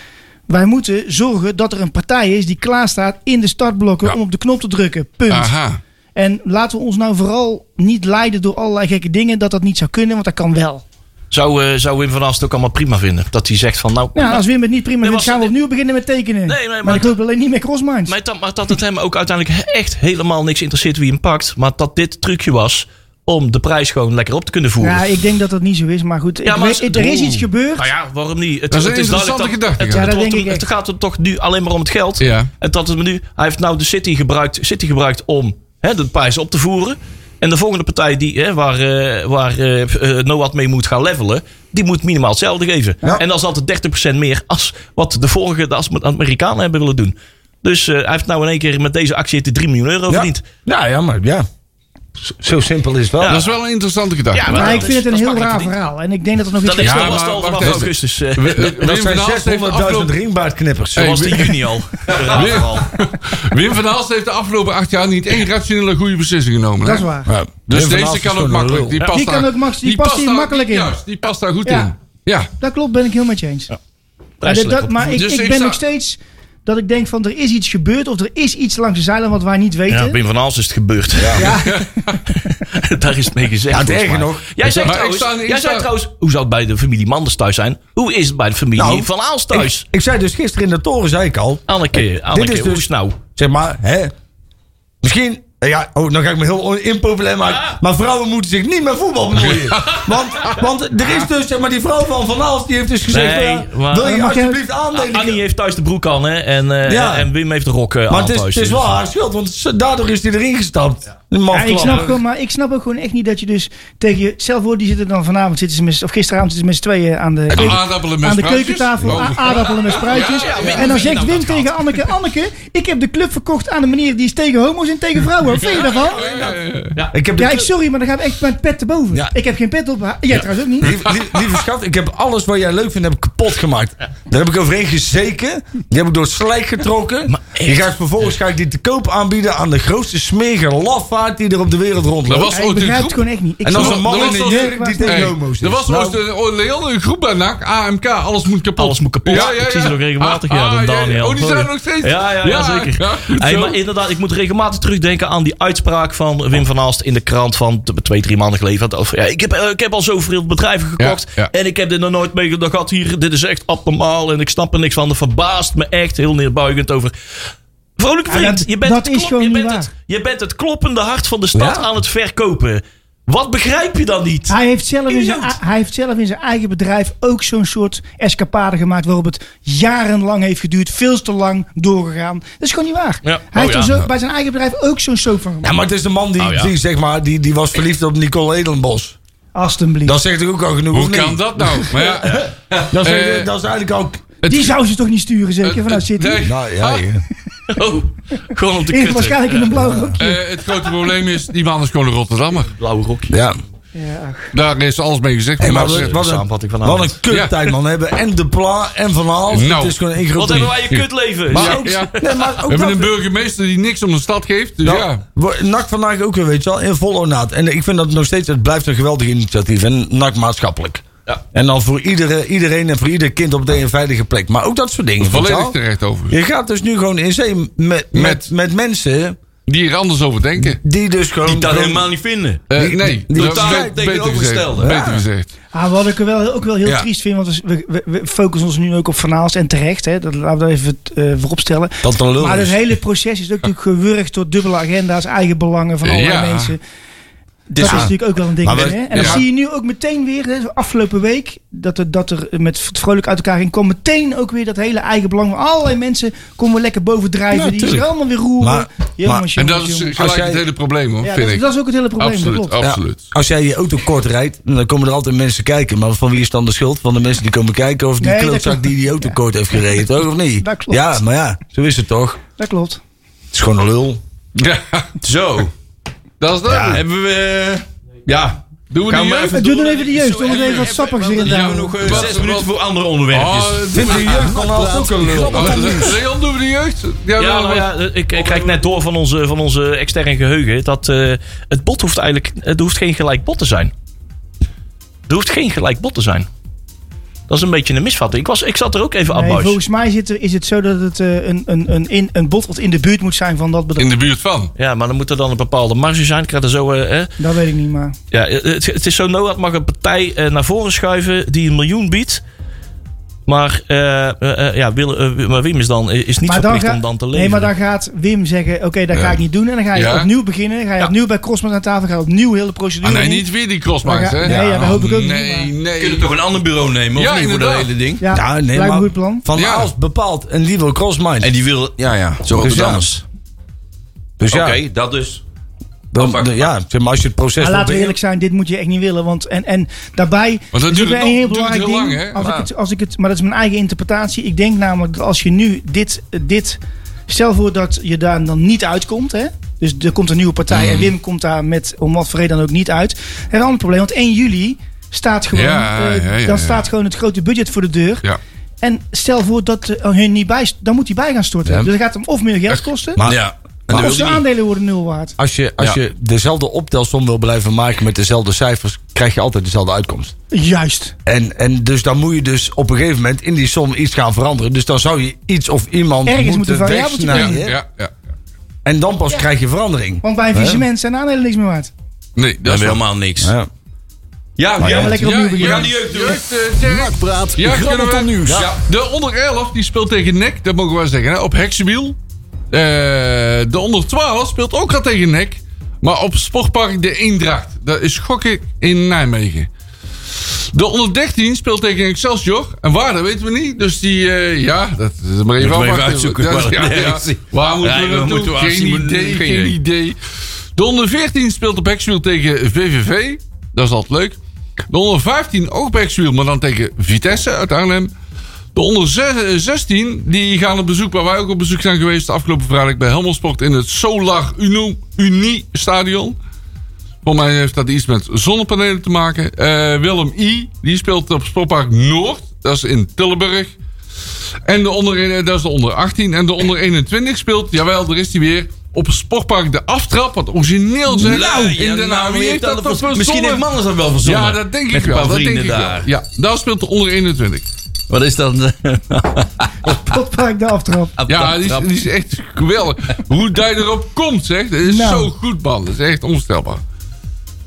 S6: Wij moeten zorgen dat er een partij is die klaar staat in de startblokken
S5: Ja.
S6: om op de knop te drukken. Punt.
S5: Aha.
S6: En laten we ons nou vooral niet leiden door allerlei gekke dingen dat dat niet zou kunnen, want dat kan wel.
S1: Zou, eh, zou Wim van Ast het ook allemaal prima vinden? Dat hij zegt van nou...
S6: Ja, als Wim het niet prima
S1: Nee,
S6: vindt,
S1: maar
S6: gaan we
S1: als-
S6: opnieuw beginnen met tekenen.
S1: nee, maar-
S6: maar ik loop alleen niet met crossminds.
S1: Maar dat, maar dat het hem ook uiteindelijk echt helemaal niks interesseert wie hem pakt. Maar dat dit trucje was om de prijs gewoon lekker op te kunnen voeren.
S6: Ja, ik denk dat dat niet zo is, maar goed. ik
S1: maar
S6: weet-
S1: als-
S6: er is iets gebeurd.
S1: Nou ja, waarom niet? Het,
S5: Dat is een
S1: het
S5: interessante
S1: duidelijk
S5: gedachte,
S1: Het,
S5: ja.
S1: het
S6: Ja, dat
S1: wordt
S6: denk
S1: hem-
S6: ik
S1: het
S6: echt.
S1: gaat hem toch nu alleen maar om het geld.
S5: Ja.
S1: En dat het nu, hij heeft nou de City gebruikt, City gebruikt om hè, de prijs op te voeren. En de volgende partij die, hè, waar, eh, waar eh, eh, Noad mee moet gaan levelen, die moet minimaal hetzelfde geven. En dat is altijd 30% meer als wat de vorige de As- Amerikanen hebben willen doen. Dus eh, hij heeft nou in één keer met deze actie heeft hij 3 miljoen euro verdiend.
S3: Nou ja, maar ja. Zo, zo simpel is het wel.
S1: Ja.
S5: Dat is wel een interessante gedachte.
S1: Ja,
S6: Maar,
S1: dat
S6: ik
S1: is-
S6: vind het
S1: dat
S6: een
S1: is
S6: heel raar
S1: makkelijk verdiend.
S6: verhaal. En ik denk dat het nog iets
S1: Dat is
S5: Ja,
S1: ja,
S5: maar
S1: al vanaf
S5: wacht even.
S1: augustus. eh,
S5: Wi- Wi-
S3: Dat
S5: Wim van Hals
S3: zijn
S5: heeft de
S3: 600.000
S5: afgelopen-
S3: ringbaardknippers.
S1: zoals de juni al. Raar verhaal.
S5: Wim van Hals heeft de afgelopen acht jaar niet één rationele goede beslissing genomen.
S6: Dat
S5: hè?
S6: is waar.
S5: Ja. Dus
S3: Wim van Hals
S5: deze
S3: is
S5: kan
S3: gewoon
S5: ook
S3: een
S5: makkelijk.
S3: lul.
S5: Die,
S1: Ja.
S5: past
S6: Die kan
S5: daar-
S6: ook max- die past hier
S5: daar-
S6: makkelijk in.
S5: Juist, die past daar goed
S6: Ja.
S5: in. Ja,
S6: Dat klopt, ben ik heel met je eens. Maar,
S1: Prijs
S6: dat-
S1: lekker op.
S6: maar ik,
S5: Dus
S6: ik
S5: ik
S6: ben
S5: zou-
S6: nog steeds dat ik denk van er is iets gebeurd of er is iets langs de zeilen wat wij niet
S1: Ja,
S6: weten.
S1: Wim van Hals is het gebeurd. Ja. Daar is het mee gezegd.
S3: Ja, het
S1: volgens
S3: erger
S1: mij.
S3: nog.
S1: Jij zei
S5: Maar ik
S1: trouwens,
S5: sta- ik
S1: jij
S5: sta-
S1: zei trouwens, hoe zou het bij de familie Manders thuis zijn? Hoe is het bij de familie
S3: Nou,
S1: van Aals thuis?
S3: Ik, ik zei dus gisteren in de toren, zei ik al.
S1: Anneke, Anneke,
S3: is
S1: hoe
S3: dus-
S1: is het nou?
S3: Zeg maar, hè. Misschien... eh, Ja, oh, dan ga ik me heel on- impopulair maken.
S5: Ah.
S3: Maar vrouwen moeten zich niet met voetbal bemoeien. Want, want er is dus, zeg maar, die vrouw van Van Aals, die heeft dus gezegd...
S1: Nee,
S3: van, ja,
S1: maar- Ah,
S3: wil je
S6: Mag jij-
S3: alsjeblieft aandelen?
S1: Annie heeft thuis de broek aan hè? En, eh,
S3: Ja.
S1: en Wim heeft de rok eh,
S3: maar
S1: aan
S3: het is,
S1: thuis.
S3: het is
S1: Dus-
S3: wel haar schuld, want ze- daardoor is hij erin gestapt. Die man
S6: Ja, ik
S3: klappen.
S6: snap gewoon, maar ik snap ook gewoon echt niet dat je dus tegen je zelf hoort, die zitten dan vanavond zitten ze met, z'n- of gisteravond zitten ze met z'n tweeën aan de,
S5: de aardappelen met
S6: aan de
S5: spruitjes.
S6: keukentafel,
S5: Mogen.
S6: a- aardappelen met spruitjes.
S1: Ja, ja, ja.
S6: en dan zegt
S1: Nou,
S6: Wim
S1: dat
S6: tegen Anneke, Anneke, ik heb de club verkocht aan de manier die is tegen homo's en tegen vrouwen. Wat vind je daarvan?
S3: Ik heb de
S6: Ja, ik,
S3: club-
S6: sorry, maar dan gaat echt mijn pet te boven.
S3: Ja.
S6: Ik heb geen pet op. Jij trouwens ook niet.
S3: Lief- lief- Lieve schat, ik heb alles wat jij leuk vindt heb ik kapot gemaakt. Daar heb ik overheen gezeken. Die heb ik door het slijk getrokken. Die ga ik vervolgens ga ik die te koop aanbieden aan de grootste smerige lafaard die er op de wereld
S5: er
S3: rondloopt.
S5: was
S6: Ja, ik
S5: ooit een
S6: begrijp het
S5: groep.
S6: gewoon echt niet. Ik
S3: en als
S5: er
S6: snap-
S3: een man
S5: was-
S3: in
S5: er
S3: een
S5: was-
S3: jurk die tegen
S5: Hey,
S3: homo's is.
S5: er was
S3: Nou,
S5: ooit een, ooit een hele groep bij NAC, AMK, alles moet kapot.
S1: Alles moet kapot. Ik zie ze nog regelmatig, ja, dan Daniel.
S5: Oh, die zijn er nog steeds.
S1: Ja, ja, ja, zeker.
S5: goed
S1: Hey,
S5: zo.
S1: maar inderdaad, ik moet regelmatig terugdenken aan die uitspraak van Wim van Aalst in de krant van t- twee, drie maanden geleden. Dat over, ja, ik, heb, eh, ik heb al zoveel bedrijven gekocht
S5: Ja, ja.
S1: en ik heb dit nog nooit meegedaan gehad hier. Dit is echt abnormaal en ik snap er niks van. Dat verbaast me echt heel neerbuigend over. Vrolijke
S6: Ja,
S1: vriend,
S6: dat-
S1: je, bent
S6: dat
S1: het
S6: is
S1: klop-
S6: gewoon
S1: je,
S6: niet
S1: bent
S6: waar.
S1: het, je bent het kloppende hart van de stad
S3: Ja.
S1: aan het verkopen. Wat begrijp je dan niet?
S6: Hij heeft, zelf in zijn,
S1: Idioot.
S6: hij heeft zelf in zijn eigen bedrijf ook zo'n soort escapade gemaakt. waarop het jarenlang heeft geduurd. veel te lang doorgegaan. Dat is gewoon niet waar.
S1: Ja.
S6: Hij
S1: Oh
S6: heeft
S1: ja.
S6: er zo, bij zijn eigen bedrijf ook zo'n soap van
S3: Ja,
S6: gemaakt.
S3: maar het is de man die,
S1: Oh, ja.
S3: die, zeg maar, die, die was verliefd op Nicole Edelenbos.
S6: Alsjeblieft.
S3: Dat zegt ik ook al genoeg.
S5: Hoe
S3: of niet?
S5: kan dat nou? Maar ja,
S3: Dat is,
S5: Eh,
S3: dat is eigenlijk ook...
S5: het-
S6: Die zou ze toch niet sturen, zeker?
S5: het-
S6: vanuit City.
S5: nee.
S3: Nou, ja,
S5: Ah.
S3: ja.
S1: Oh, gewoon om te
S6: In,
S1: kutten.
S6: waarschijnlijk in een blauw rokje.
S5: Eh, het grote probleem is, die man is gewoon een Rotterdammer.
S1: Blauwe rokje.
S3: ja.
S6: Ja, ach.
S5: Daar is alles mee gezegd.
S3: Hey, maar
S5: Maar
S3: wat,
S5: ze-
S3: wat
S1: Samenvatting
S3: een,
S1: vanavond.
S3: wat een kuttijd, man. We hebben en de pla en Van Aals.
S5: Nou.
S3: Het is gewoon één
S1: Wat
S3: grote...
S1: hebben wij een kutleven?
S5: Maar-
S1: Ja.
S3: ook,
S5: Ja.
S3: nee, maar ook
S5: we hebben
S3: dat-
S5: een burgemeester die niks om de stad geeft. Dus
S3: Nou,
S5: ja.
S3: wo- NAC vandaag ook weer, weet je wel, in vol ornaat. En ik vind dat nog steeds, het blijft een geweldig initiatief. En NAC maatschappelijk.
S1: Ja.
S3: En dan voor iedere, iedereen en voor ieder kind op de een veilige plek. Maar ook dat soort dingen, weet je
S5: Volledig
S3: wel.
S5: terecht over.
S3: Je gaat dus nu gewoon in zee met, met, met,
S5: Met-
S3: mensen
S5: Die er anders over denken.
S3: die dus gewoon...
S1: Die dat
S3: gewoon-
S1: helemaal niet vinden.
S5: Eh,
S3: Die-
S5: nee,
S3: die-
S5: dat
S1: totaal
S5: is be- beter gezegd.
S1: tegenovergestelde.
S5: Beter gezegd.
S6: Ah, wat ik er wel, ook wel heel
S3: Ja.
S6: triest vind, want we, we, we focussen ons nu ook op Van Aals en terecht. Hè, dat laten we dat even eh, vooropstellen.
S3: Dat het een lul
S6: Maar
S3: is.
S6: het hele proces is ook natuurlijk gewurgd door dubbele agenda's, eigen belangen van allerlei
S5: Ja.
S6: mensen. Dat is natuurlijk ook wel een ding.
S3: Maar we-
S6: hè? En
S5: ja.
S6: dat zie je nu ook meteen weer, hè, zo afgelopen week, dat er, dat er met het vrolijk uit elkaar in kwam. Meteen ook weer dat hele eigen belang van allerlei mensen komen we lekker bovendrijven.
S3: Ja,
S6: die is er
S3: tuurlijk.
S6: allemaal weer roeren.
S3: Maar-
S6: Jongens,
S3: maar-
S5: En dat
S6: jongens,
S5: is
S6: jongens.
S5: gelijk
S3: Als jij-
S5: het hele probleem hoor,
S6: Ja,
S5: vind
S6: dat,
S5: ik.
S6: dat is ook het hele probleem. dat
S5: absoluut, Oh.
S6: klopt.
S3: Ja,
S5: absoluut.
S3: als jij je auto kort rijdt, dan komen er altijd mensen kijken. Maar van wie is dan de schuld? Van de mensen die komen kijken of die
S6: Nee, dat
S3: klootzak
S6: klopt.
S3: die die auto kort heeft gereden, toch? Of niet?
S6: Dat klopt.
S3: Ja, maar ja, zo is het toch.
S6: Dat klopt.
S3: Het is gewoon een lul.
S5: Ja.
S4: Zo,
S5: dat is dat.
S4: hebben we... eh, Ja,
S5: Doen we
S4: Gaan
S5: die
S4: we
S5: jeugd?
S6: Doe dan even de jeugd. Doe dan even wat sappigs erin.
S4: we
S6: duwen.
S4: hebben nog eh,
S5: Wat-
S4: zes
S5: wat-
S4: minuten voor andere onderwerpjes.
S5: Oh, doe
S3: Vindt
S5: maar-
S3: de jeugd van Aals ook een lul?
S5: Oh, Leon, doen we de jeugd? Ja,
S1: Ja,
S5: wel,
S1: nou ja, ik, ik krijg net door van onze, van onze externe geheugen dat eh, het bot hoeft eigenlijk, het hoeft geen gelijk bot te zijn. Er hoeft geen gelijk bot te zijn. Dat is een beetje een misvatting. Ik, was, ik zat er ook even
S6: Nee,
S1: aan buis.
S6: volgens mij zit er, is het zo dat het eh, een, een, een, in, een bod wat in de buurt moet zijn van dat bedrag.
S5: In de buurt van. Ah,
S1: Ja, maar dan moet er dan een bepaalde marge zijn. Ik krijg er zo... eh, eh,
S6: Dat weet ik niet, maar...
S1: ja, eh, het, het is zo, Noad mag een partij eh, naar voren schuiven die een miljoen biedt. Maar, eh, eh, eh, ja, Wil- eh, maar Wim is dan eh, is niet
S6: maar
S1: verplicht
S6: ga-
S1: om dan te leven.
S6: Nee, maar dan gaat Wim zeggen, oké, dat
S5: Ja.
S6: ga ik niet doen. En dan ga je
S5: Ja.
S6: opnieuw beginnen. Dan ga je
S1: Ja.
S6: opnieuw bij Crossman aan tafel. Ga je opnieuw hele procedure
S5: Ah, nee,
S6: doen.
S5: niet weer die crossmarkt,
S6: Maar
S5: hè?
S6: ga- nee, ja, dat hoop ik ook niet,
S5: Nee,
S6: maar-
S5: nee.
S4: Kunnen we toch een ander bureau nemen?
S5: Ja,
S4: of niet, voor dat
S5: inderdaad.
S4: hele ding?
S6: Ja,
S3: Ja, nee,
S6: lijkt me
S3: maar-
S6: een goed plan.
S3: Van
S5: Ja.
S3: Aals bepaalt en die wil crossmind.
S4: En die wil, ja, ja, zo
S3: Dus
S4: dus
S3: ja.
S4: anders.
S3: Dus
S4: Oké,
S3: ja,
S4: dat dus.
S3: dan,
S4: afwachten.
S3: ja zeg maar als je het proces
S6: Maar
S3: wil
S6: laten
S3: beïnvloeden-
S6: we eerlijk zijn, dit moet je echt niet willen. Want en, en daarbij
S5: dat
S6: er zit
S5: duurt
S6: weer
S5: nog- duurt heel lang, hè?
S6: als
S5: Ja.
S6: ik het, als ik het, maar dat is mijn eigen interpretatie. Ik denk namelijk dat als je nu dit, dit stel voor dat je daar dan niet uitkomt, hè? Dus er komt een nieuwe partij
S5: Mm.
S6: en Wim komt daar met om wat voor reden dan ook niet uit. En een ander probleem, want 1 juli staat gewoon,
S5: Ja,
S6: eh,
S5: ja, ja,
S6: dan
S5: ja.
S6: staat gewoon het grote budget voor de deur.
S5: Ja.
S6: En stel voor dat eh, hun niet bij, dan moet hij bij gaan storten.
S3: Ja.
S6: Dus dat gaat hem of meer geld kosten,
S3: Maar
S4: Ja. En
S3: Maar
S4: dat
S6: of
S4: wil
S6: zijn
S4: hij niet.
S6: aandelen worden nul waard.
S3: als, je, als
S4: Ja.
S3: je dezelfde optelsom wil blijven maken met dezelfde cijfers, krijg je altijd dezelfde uitkomst.
S6: Juist.
S3: En, en dus dan moet je dus op een gegeven moment in die som iets gaan veranderen. Dus dan zou je iets of iemand
S6: Ergens moet
S3: moeten
S6: een variabeltje
S5: Ja,
S3: wegsnijden.
S5: ja, ja.
S3: En dan pas krijg je verandering.
S6: Want bij een vieze mens zijn aandelen niks meer waard.
S5: Nee,
S4: Dat
S5: dat
S4: is
S5: is wel.
S4: helemaal niks.
S3: Ja.
S4: Ja,
S3: Maar ja,
S4: ja.
S6: lekker
S5: Ja,
S6: opnieuw
S5: we gaan
S6: beginnen.
S5: die jeugd doen. Jeugd, eh, Dirk.
S2: Nakpraat,
S5: Ja, kunnen we-
S2: grabbelton nieuws.
S5: Ja. De onder 11 die speelt tegen NEC, dat mogen we wel zeggen, hè, op Heksenwiel. Eh, de onder 12 speelt ook al tegen NEC, maar op Sportpark De Eendracht. Dat is gokken in Nijmegen. De onder 13 speelt tegen Excelsior. En waar, dat weten we niet. Dus die, eh, ja, dat is maar even
S4: we even
S5: afwachten.
S4: uitzoeken
S5: Dat-
S4: waar dat
S5: ja, ja.
S4: ergens is.
S5: Waar moeten
S4: Nee,
S5: we
S4: waar
S5: naartoe?
S4: moeten we-
S5: geen,
S4: Assen-
S5: idee,
S4: geen
S5: geen
S4: idee.
S5: idee. De onder 14 speelt op Hexwiel tegen VVV. Dat is altijd leuk. De onder 15 ook op Hexwiel, maar dan tegen Vitesse uit Arnhem. De onder ze- eh, 16 die gaan op bezoek, waar wij ook op bezoek zijn geweest de afgelopen vrijdag bij Helmelsport in het Solar Uno, Unie Stadion. Volgens mij heeft dat iets met zonnepanelen te maken. Eh, Willem I, die speelt op Sportpark Noord. Dat is in Tilburg. En de onder, eh, dat is de onder 18. En de onder 21 speelt, jawel, daar is hij weer. Op Sportpark de aftrap, wat origineel zijn.
S4: Nou, ja,
S5: in de
S4: nou,
S5: naam. Wie
S4: wie
S5: heeft
S4: heeft
S5: dat
S4: dat
S5: toch
S4: verzonnen? Misschien heeft Manders dat wel verzonnen.
S5: Ja, dat denk
S4: Met
S5: ik
S4: een
S5: wel.
S4: paar
S5: dat denk ik
S4: vrienden
S5: wel.
S4: daar.
S5: Ja, daar speelt de onder 21.
S4: Wat is eh, dat?
S6: Tot vaak de aftrap.
S5: Ja, die is, die is echt geweldig. Hoe die erop komt, zeg. Dat is
S6: Nou.
S5: zo goed, man. Dat is echt onvestelbaar.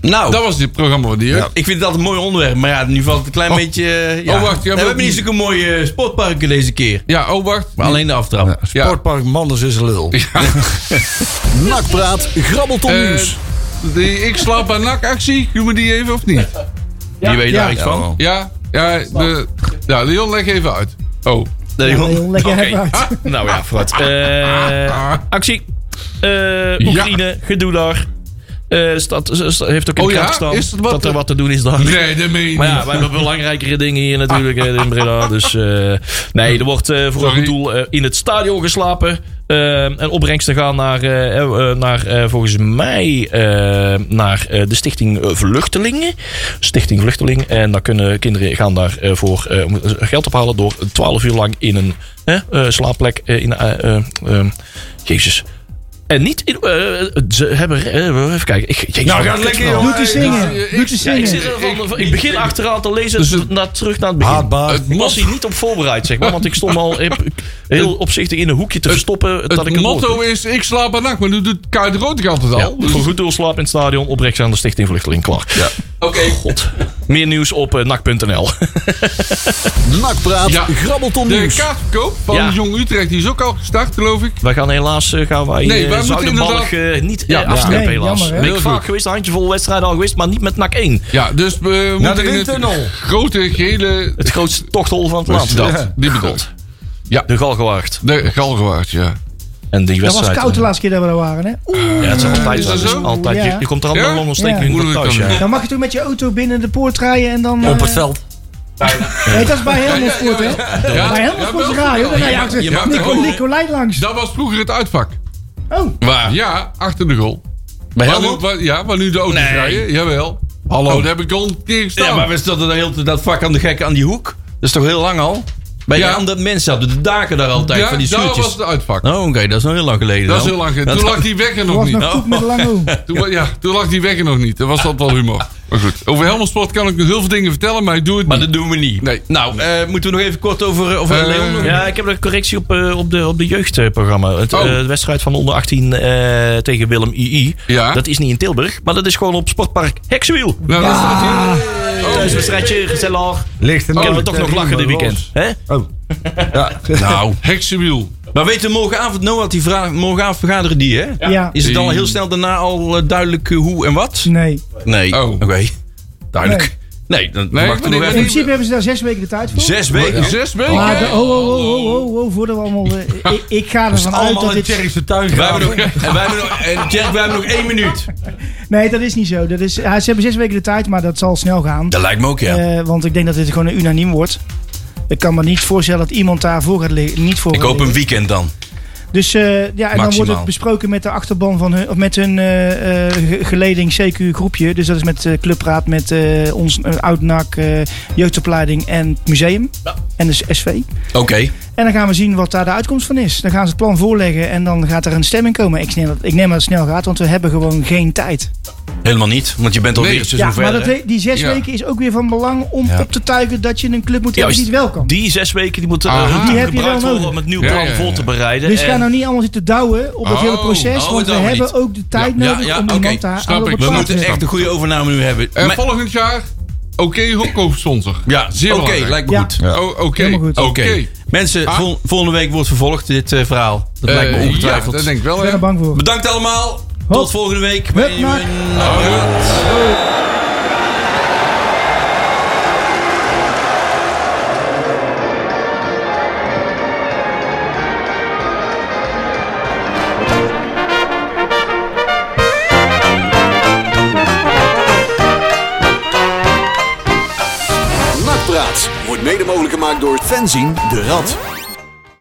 S4: Nou,
S5: Dat was dit programma van de jeugd.
S4: ik vind dat een mooi onderwerp. Maar ja, nu valt het een klein
S5: Oh.
S4: beetje... eh, ja.
S5: Oh, wacht, ja,
S4: Nee, we
S5: maar-
S4: hebben niet zulke mooie eh, sportparken deze keer.
S5: Ja, oh, wacht.
S4: Maar alleen de aftrap.
S5: Ja.
S3: Sportpark Manders is een lul.
S2: Nakpraat, grabbelton
S5: Eh,
S2: nieuws.
S5: die ik slaap bij NAC-actie. Doen we die even of niet?
S4: Die weet daar
S6: ja.
S4: iets van.
S5: Ja, ja, de, ja Leon, leg even uit. Oh.
S4: Nee,
S6: Ja,
S4: joh.
S6: heel lekker
S4: Oké.
S6: hebben uit.
S1: Nou ja, vooruit. Eh,
S5: Ah.
S1: actie. Eh, Oekraïne, gedoe daar. Eh, staat, s- s- heeft ook in
S5: Oh
S1: de
S5: ja?
S1: krant gestaan
S5: Is het wat-
S1: dat er wat te doen is daar.
S5: Nee, dat meen je
S1: Maar ja,
S5: niet.
S1: wij hebben belangrijkere dingen hier natuurlijk eh, in Breda. Dus eh, nee, er wordt eh, voor een
S5: Sorry.
S1: goed doel eh, in het stadion geslapen. Eh, en opbrengsten gaan naar, eh, eh, eh, naar eh, volgens mij, eh, naar eh, de Stichting eh, Vluchtelingen. Stichting Vluchtelingen. En dan kunnen kinderen gaan daarvoor voor eh, om geld ophalen door 12 uur lang in een hè, eh, slaapplek. eh, in, eh, eh, eh, jezus. En niet in, eh, ze hebben. eh, even kijken. Ik, jezus,
S4: Nou,
S1: wat
S4: gaat lekker,
S1: nou?
S4: joh.
S6: Doe te zingen.
S5: Ja, ik-
S6: Doe te
S1: Ja, ik, zit
S6: zingen.
S1: er van,
S5: Ik-
S1: ik begin
S5: ik-
S1: achteraan te lezen,
S5: Dus het-
S1: naar, terug naar het begin.
S3: Haatbaar.
S1: Ik was hier niet op voorbereid, zeg maar. Want ik stond al heb- heel opzichtig in een hoekje te verstoppen. dat ik
S5: Het
S1: het
S5: motto
S1: woord-
S5: is, ik slaap bij NAC. Maar nu doet Kuit Rood altijd
S1: Ja,
S5: al. Dus-
S1: voor goed doel slaap in het stadion, oprecht aan de Stichting Vluchteling klaar.
S5: Oké.
S1: God. Meer nieuws op eh, nak.nl.
S2: Nakpraat,
S5: Ja.
S2: grabbelton
S5: De
S2: nieuws.
S5: kaartverkoop van
S1: Ja.
S5: Jong Utrecht die is ook al gestart, geloof ik.
S1: Wij gaan helaas eh, gaan wij,
S5: Nee,
S1: eh,
S5: wij moeten
S1: Zuiderbalg, eh, niet
S5: Ja,
S1: ja, afstrepen
S6: nee,
S1: helaas.
S6: jammer, hè?
S1: ben ik
S5: Heel
S1: vaak
S5: goed.
S1: geweest, een handjevol wedstrijden al geweest, maar niet met NAC 1.
S5: Ja, dus we moeten
S3: de
S5: in
S3: windtunnel.
S5: het grote gele...
S1: Het grootste tochthol van het land.
S5: dat,
S1: Ja.
S5: die bedoel ik.
S1: De Galgenwaard.
S5: De Galgenwaard, ja.
S1: En die
S6: Dat was
S1: wedstrijd. eh, Ah.
S6: koud de laatste keer dat we daar waren. Hè? Oeh,
S1: Ja, het is altijd
S5: Is
S1: zo.
S5: dat
S1: Het is
S5: zo?
S1: altijd-
S6: Ja.
S1: je, je komt er allemaal
S5: Ja?
S1: longontsteking
S6: Ja.
S1: in
S5: Moeilijk
S1: thuis.
S5: dan.
S1: ja.
S6: dan mag je toch met je auto binnen de poort rijden en dan...
S3: Op
S6: eh,
S3: het veld.
S6: Nee, dat is bij Helmersport, hè?
S5: Ja,
S6: Bij
S5: ja, wel.
S6: Helmersport rijden, hoor. Dan ga je
S5: Ja,
S6: achter
S5: je mag
S6: Nico-
S5: gewoon-
S6: Nicolai langs.
S5: Dat was vroeger het uitvak.
S6: Oh,
S4: Waar?
S5: Ja, achter de goal.
S4: Bij
S5: Waar nu,
S4: Helmond?
S5: waar- ja, waar nu de auto's
S4: Nee.
S5: rijden. Jawel. Hallo, daar heb ik al een keer gestaan.
S4: Ja, maar we stonden de hele tijd dat vak aan de gekke aan die hoek. Dat is toch heel lang al? Bij
S5: Ja.
S4: ja. aan dat mensen hadden de daken daar altijd
S5: Ja,
S4: van die
S5: daar
S4: zuurtjes.
S5: was het uitvak.
S4: Oh, oké, dat is nog heel lang geleden.
S5: dat is
S4: dan.
S5: heel lang geleden.
S4: Dat
S5: Toen lag die weg er
S6: dat
S5: nog
S6: was
S5: niet.
S6: nog goed met de lange hoek.
S5: Toen, wa- ja, toen lag die weg er nog niet. Dat was dat wel humor. Maar goed, over Helmond Sport kan ik nog heel veel dingen vertellen, maar ik doe het
S4: Maar
S5: niet.
S4: dat doen we niet.
S5: Nee.
S4: Nou, eh, moeten we nog even kort over, eh, over
S5: Eh,
S4: Leon nog?
S1: Ja, ik heb een correctie op, eh, op de, op de jeugdprogramma. Het,
S5: Oh.
S1: eh, de wedstrijd van de onder 18 eh, tegen Willem II.
S5: Ja.
S1: Dat is niet in Tilburg, maar dat is gewoon op Sportpark Heksenwiel.
S5: Nou, dat staat hier.
S1: Thuiswedstrijdje, gezellig.
S3: Ligt
S4: Oh,
S3: er
S1: Kunnen we
S3: nooit,
S1: toch
S3: eh,
S1: nog lachen dit
S3: iemand
S1: weekend. hè?
S3: los. Oh. Ja.
S5: Nou, heksenwiel.
S4: Maar weten we morgenavond, Noah, die vraag, morgenavond vergaderen die, hè?
S6: Ja.
S4: Is het al heel snel daarna al eh, duidelijk eh, hoe en wat?
S6: Nee.
S4: Nee.
S5: Oh.
S4: Oké. Duidelijk. Nee, dan
S5: Nee,
S4: wachten we nog
S5: maar nee,
S6: In
S4: even.
S6: principe hebben ze daar zes weken de tijd voor.
S4: Zes weken.
S5: Zes weken.
S6: Maar de- oh, oh, oh, oh, oh, oh, voordat we allemaal... eh, ik, ik ga ervan uit dat
S3: Allemaal in
S6: dit...
S3: Terry's tuin
S4: Wij hebben
S3: graven.
S4: nog, en wij hebben nog, en Jack, wij hebben nog één minuut.
S6: Nee, dat is niet zo. Dat is, ja, ze hebben zes weken de tijd, maar dat zal snel gaan.
S4: Dat lijkt me ook, ja.
S6: Eh, want ik denk dat dit gewoon een unaniem wordt. Ik kan me niet voorstellen dat iemand daarvoor gaat liggen. Niet voor
S4: ik
S6: gaat
S4: hoop een
S6: liggen.
S4: weekend dan.
S6: Dus eh, ja, en dan wordt
S4: Maximaal.
S6: het besproken met de achterban van hun, of met hun eh, eh, ge- geleding CQ groepje. Dus dat is met eh, Clubraad, met eh, ons uh, oud-NAC, eh, jeugdopleiding en het museum. En dus de SV.
S4: Oké.
S6: En dan gaan we zien wat daar de uitkomst van is. Dan gaan ze het plan voorleggen en dan gaat er een stemming komen. Ik neem dat, ik neem dat het snel gaat, want we hebben gewoon geen tijd.
S4: Helemaal niet, want je bent alweer
S5: Nee.
S4: een seizoen
S6: ja, maar
S4: verder.
S6: dat,
S4: hè?
S6: we- die zes
S5: Ja.
S6: weken is ook weer van belang om
S4: Ja.
S6: op te tuigen dat je een club moet hebben
S1: Juist.
S6: die het wel kan.
S1: Die zes weken die moeten
S5: Aha.
S1: eh,
S5: Die
S6: heb je wel
S1: gebruikt worden
S6: nodig.
S1: om het nieuw
S5: Ja,
S1: plan
S5: ja, ja.
S1: voor te bereiden.
S6: Dus ga
S1: En-
S6: nou niet allemaal zitten douwen op het
S5: Oh,
S6: hele proces.
S4: oh,
S6: want we
S4: douwen
S6: hebben
S4: niet.
S6: ook de tijd
S4: Ja,
S6: nodig
S4: ja,
S6: om
S4: oké,
S6: iemand daar
S5: snap
S6: aan op
S5: ik.
S6: het
S5: We
S4: We
S6: paard
S4: moeten
S6: te zetten.
S4: echt een goede overname nu hebben.
S5: En
S4: Maar-
S5: volgend jaar, oké, honkkoopsponsor.
S4: ja,
S5: zeer
S4: oké,
S5: belangrijk.
S4: lijkt me
S6: Ja.
S4: goed.
S5: Oh, Oké,
S6: Helemaal goed.
S5: oké.
S4: Oké. Mensen,
S5: Ah.
S4: vol- volgende week wordt vervolgd dit eh, verhaal. Dat lijkt me
S5: Eh,
S4: ongetwijfeld.
S5: Ja, dat denk ik wel.
S6: Ik ben
S5: hè.
S6: er bang voor.
S4: Bedankt allemaal. Tot
S6: Hop.
S4: volgende week.
S6: Hup, nak.
S4: Hoi.
S2: Nakpraat wordt mede mogelijk gemaakt door Fenzin de Rad.